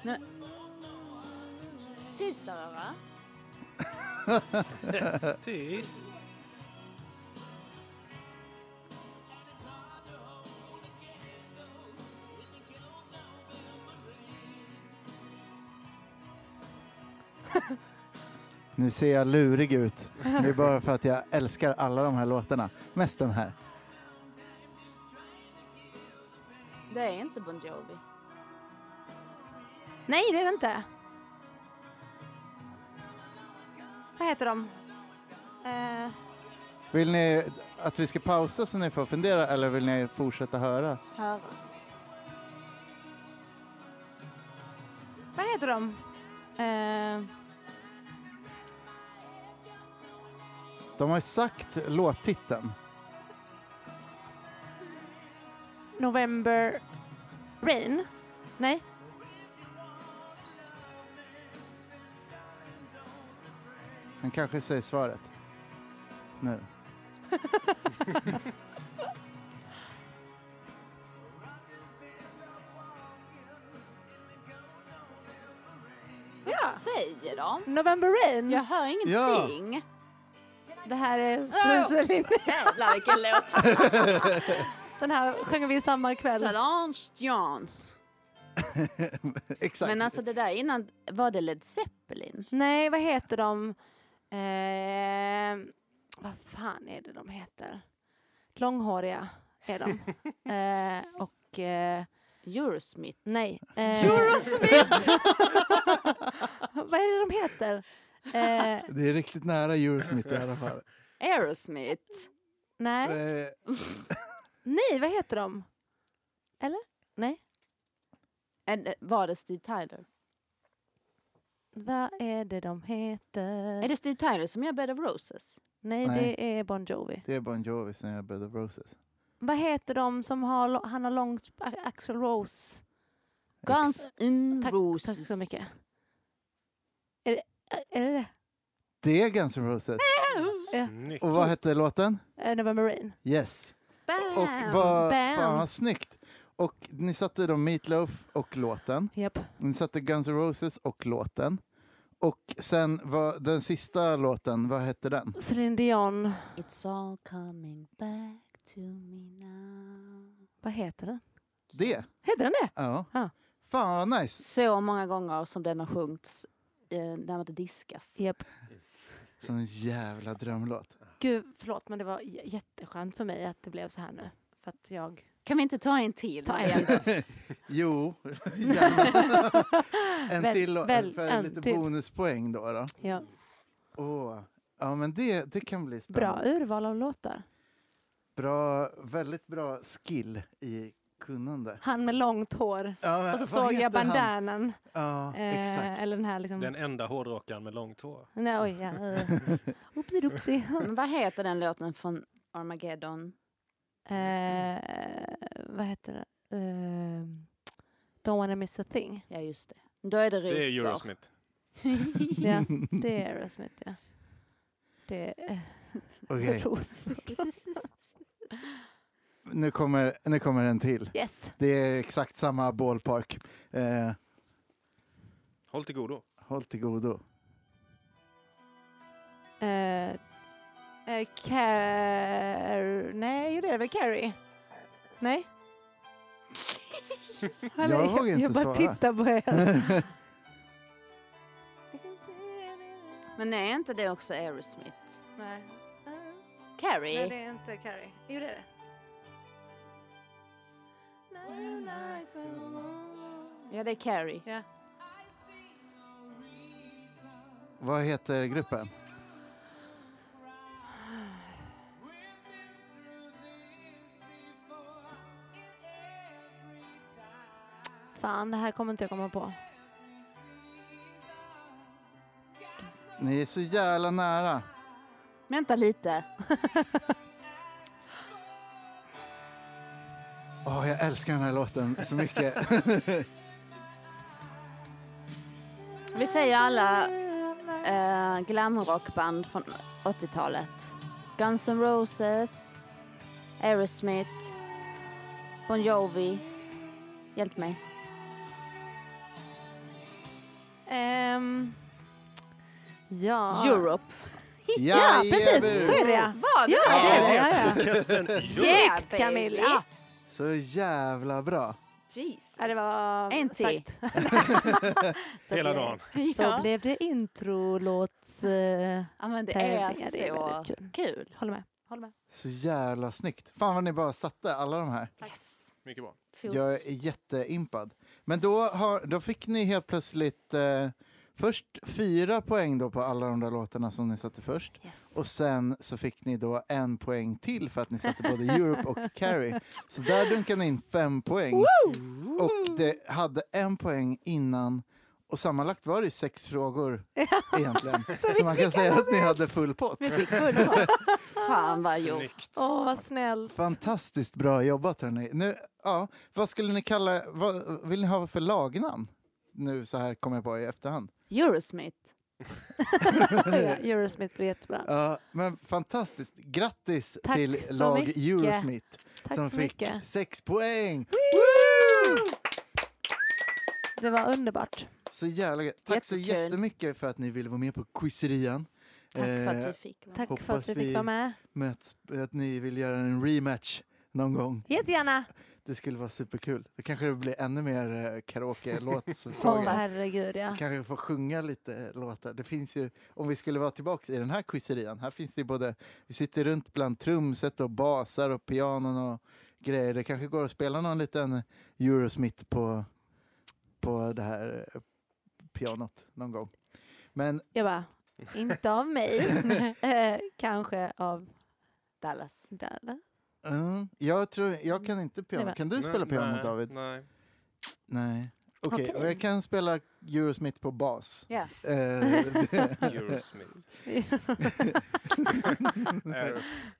Speaker 3: Nej. Tystare va?
Speaker 2: Tyst!
Speaker 1: Nu ser jag lurig ut. Det är bara för att jag älskar alla de här låtarna. Mest den här.
Speaker 3: Det är inte Bon Jovi.
Speaker 4: Nej, det är det inte. Vad heter de? Eh,
Speaker 1: Vill ni att vi ska pausa så ni får fundera eller vill ni fortsätta höra?
Speaker 3: Höra.
Speaker 4: vad heter de? Eh,
Speaker 1: De har ju sagt låttiteln.
Speaker 4: November Rain? Nej?
Speaker 1: Han kanske säger svaret. Nu.
Speaker 4: Ja. Mm.
Speaker 3: Säger de?
Speaker 4: November Rain.
Speaker 3: Jag hör ingenting.
Speaker 4: Det här är
Speaker 3: Oh.
Speaker 4: Sluselin.
Speaker 3: Jävlar vilken låt.
Speaker 4: Den här sjöng vi samma kväll.
Speaker 3: Solange Jones.
Speaker 1: Exakt.
Speaker 3: Men alltså det där innan, var det Led Zeppelin?
Speaker 4: Nej, vad heter de? Eh, vad fan är det de heter? Långhåriga är de. eh, och... Eh,
Speaker 3: Eurosmith?
Speaker 4: Nej. Eh, Vad är det de heter? Eh,
Speaker 1: Det är riktigt nära Eurosmith i alla fall.
Speaker 3: Aerosmith?
Speaker 4: nej.
Speaker 1: Eh,
Speaker 4: nej, vad heter de? Eller? Nej.
Speaker 3: Eller Var det Steve Tyler?
Speaker 4: Vad är det de heter?
Speaker 3: Är det Steve Tyler som gör Bed of Roses?
Speaker 4: Nej,
Speaker 1: Nej.
Speaker 4: det är Bon Jovi.
Speaker 1: Det är Bon Jovi som gör Bed of Roses.
Speaker 4: Vad heter de som har, lo- han har långt... Axel Rose.
Speaker 3: Guns
Speaker 1: Mm.
Speaker 3: N'
Speaker 4: Tack,
Speaker 3: Roses.
Speaker 4: tack så mycket. Är det är det? det?
Speaker 1: Det är Guns N' Roses.
Speaker 4: Ja.
Speaker 2: Snyggt!
Speaker 1: Och vad hette låten?
Speaker 4: Eh, November Rain.
Speaker 1: Yes.
Speaker 3: Bam!
Speaker 1: Och vad
Speaker 4: Bam.
Speaker 1: fan vad snyggt. Och ni satte då Meatloaf och låten.
Speaker 4: Japp.
Speaker 1: Ni satte Guns N' Roses och låten. Och sen vad, den sista låten, vad hette den?
Speaker 4: Celine Dion.
Speaker 3: It's all coming back to me now.
Speaker 4: Vad heter den?
Speaker 1: Det?
Speaker 4: Heter den det?
Speaker 1: Ja.
Speaker 4: Ja.
Speaker 1: Fan vad nice.
Speaker 3: Så många gånger som den har sjungits eh, när man diskas.
Speaker 4: Japp.
Speaker 1: Sån jävla drömlåt.
Speaker 4: Gud, förlåt men det var j- jätteskönt för mig att det blev så här nu. För att jag
Speaker 3: Kan vi inte ta en till?
Speaker 4: Ta
Speaker 3: Maria?
Speaker 4: en.
Speaker 1: Jo, gärna. En
Speaker 4: Väl-
Speaker 1: till låt
Speaker 4: väl
Speaker 1: för
Speaker 4: en
Speaker 1: lite
Speaker 4: till.
Speaker 1: bonuspoäng då. då.
Speaker 4: Ja.
Speaker 1: Åh. Ja men det, det kan bli spännande.
Speaker 4: Bra urval av låtar.
Speaker 1: Bra, väldigt bra skill i kunnande.
Speaker 4: Han med långt hår.
Speaker 1: Ja,
Speaker 4: Och så
Speaker 1: vad
Speaker 4: såg
Speaker 1: heter
Speaker 4: jag
Speaker 1: han?
Speaker 4: bandanan.
Speaker 1: Ja,
Speaker 4: Eh,
Speaker 1: exakt.
Speaker 4: eller den här liksom...
Speaker 2: Den enda hårdrockaren med långt hår.
Speaker 4: Nej, oj, ja. eh. Oopsie-doopsie.
Speaker 3: Men vad heter den låten från Armageddon?
Speaker 4: eh, vad heter det? Eh, don't wanna miss a thing.
Speaker 3: Ja, just det. Då är det rosor.
Speaker 2: Det är Eurosmith.
Speaker 4: Ja, det är Aerosmith, ja. Det är eh,
Speaker 1: Okej,
Speaker 4: okay. rosor.
Speaker 1: nu, kommer, nu kommer en till.
Speaker 4: Yes!
Speaker 1: Det är exakt samma ballpark. Eh,
Speaker 2: Håll till godo.
Speaker 1: håll till godo.
Speaker 4: Eh, eh, Car... Nej, jo, det är väl Carrie? Nej? Eller,
Speaker 1: Jag vågar inte
Speaker 4: jag bara
Speaker 1: svara.
Speaker 4: tittar på er.
Speaker 3: Men är inte det också Aerosmith?
Speaker 4: Nej.
Speaker 3: Carrie?
Speaker 4: Nej, det är inte Carrie. Jo, det är det.
Speaker 3: Ja, det är Carrie.
Speaker 4: Ja.
Speaker 1: Vad heter gruppen?
Speaker 4: Fan, det här kommer inte jag komma på.
Speaker 1: Ni är så jävla nära.
Speaker 3: Vänta lite.
Speaker 1: Åh, jag älskar den här låten så mycket.
Speaker 3: Vi säger alla eh, glamrockband från 80-talet. Guns N' Roses, Aerosmith, Bon Jovi. Hjälp mig.
Speaker 4: Ehm, ja.
Speaker 3: Europe.
Speaker 4: Ja, precis.
Speaker 1: Jajebus!
Speaker 4: Så är det.
Speaker 5: Vad?
Speaker 4: Ja, det är det. Ja, ja.
Speaker 2: Podcasten Europe.
Speaker 5: Yeah,
Speaker 4: Snyggt
Speaker 5: baby.
Speaker 4: Camilla!
Speaker 1: Så jävla bra.
Speaker 5: Jesus.
Speaker 4: Ja, det var
Speaker 3: En till.
Speaker 4: starkt.
Speaker 2: Hela dagen.
Speaker 4: Så blev det introlåts... Eh,
Speaker 3: Ja, men det är
Speaker 4: tävlingar.
Speaker 3: så
Speaker 4: Det är väldigt kul.
Speaker 3: kul.
Speaker 4: håller med. Håller med.
Speaker 1: Så jävla snyggt. Fan vad ni bara satte alla de här.
Speaker 3: Yes.
Speaker 2: Mycket bra.
Speaker 1: Jag är jätteimpad. Men då, har, då fick ni helt plötsligt eh, först fyra poäng då på alla de där låtarna som ni satte först.
Speaker 4: Yes.
Speaker 1: Och sen så fick ni då en poäng till för att ni satte både Europe och Carrie. Så där dunkade ni in fem poäng. Och det hade en poäng innan. Och sammanlagt var det sex frågor egentligen. så Alltså, man kan säga att ni hade full pott.
Speaker 4: Vi fick full
Speaker 3: Fan vad jo.
Speaker 2: Snyggt.
Speaker 4: Åh, vad snällt.
Speaker 1: Fantastiskt bra jobbat hörni. Nu, ja, vad skulle ni kalla, vad vill ni ha för lagnamn? Nu så här kommer jag på i efterhand.
Speaker 3: Eurosmith.
Speaker 4: Ja, Eurosmith blev jättebra.
Speaker 1: Ja, men fantastiskt. Grattis
Speaker 4: Tack
Speaker 1: till
Speaker 4: så
Speaker 1: lag
Speaker 4: mycket.
Speaker 1: Eurosmith
Speaker 4: Tack
Speaker 1: som
Speaker 4: så
Speaker 1: fick
Speaker 4: mycket.
Speaker 1: sex poäng.
Speaker 4: Det var underbart.
Speaker 1: Så jävla gött. Tack så
Speaker 3: Jättekul.
Speaker 1: jättemycket för att ni ville vara med på quizerian.
Speaker 3: Tack för att
Speaker 1: Eh,
Speaker 3: vi fick. vara med.
Speaker 4: Tack för
Speaker 1: Hoppas
Speaker 4: att vi fick
Speaker 1: vi-
Speaker 4: vara med.
Speaker 1: med att, att ni vill göra en rematch någon gång.
Speaker 4: Jättegärna!
Speaker 1: Det skulle vara superkul. Då kanske det blir ännu mer eh,
Speaker 4: Åh,
Speaker 1: karaoke-låtsfrågor.
Speaker 4: herregud ja.
Speaker 1: kanske få sjunga lite eh, låtar. Det finns ju, om vi skulle vara tillbaka i den här quizerian, här finns det ju både, vi sitter runt bland trumset och basar och pianon och grejer. Det kanske går att spela någon liten Eurosmith på, på det här eh, pianot någon gång. Men
Speaker 4: Jag bara, inte av mig. Eh, Kanske av
Speaker 3: Dallas.
Speaker 4: Dallas.
Speaker 1: eh, jag tror, jag kan inte piano.
Speaker 4: Nej,
Speaker 1: Kan du spela
Speaker 2: Nej,
Speaker 1: piano
Speaker 2: nej,
Speaker 1: David?
Speaker 2: Nej.
Speaker 1: Nej. Okej,
Speaker 4: Okej.
Speaker 1: och jag kan spela Eurosmith på bas.
Speaker 3: Ja.
Speaker 1: Eh, det-
Speaker 2: Eurosmith. Eh, Euro-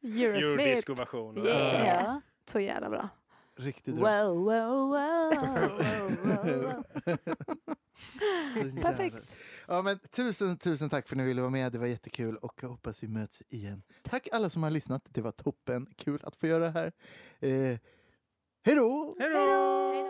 Speaker 4: Eurosmith.
Speaker 2: Eurodisco-version.
Speaker 1: Yeah.
Speaker 3: Yeah.
Speaker 4: Så jävla bra.
Speaker 1: Riktigt
Speaker 3: Wow, wow, wow, wow, wow, wow.
Speaker 1: Så jävla-
Speaker 4: Perfekt.
Speaker 1: Ja, men tusen, tusen tack för att ni ville vara med. Det var jättekul och jag hoppas vi möts igen. Tack alla som har lyssnat. Det var toppen. Kul att få göra det här. Eh, hej då!
Speaker 2: Hej då!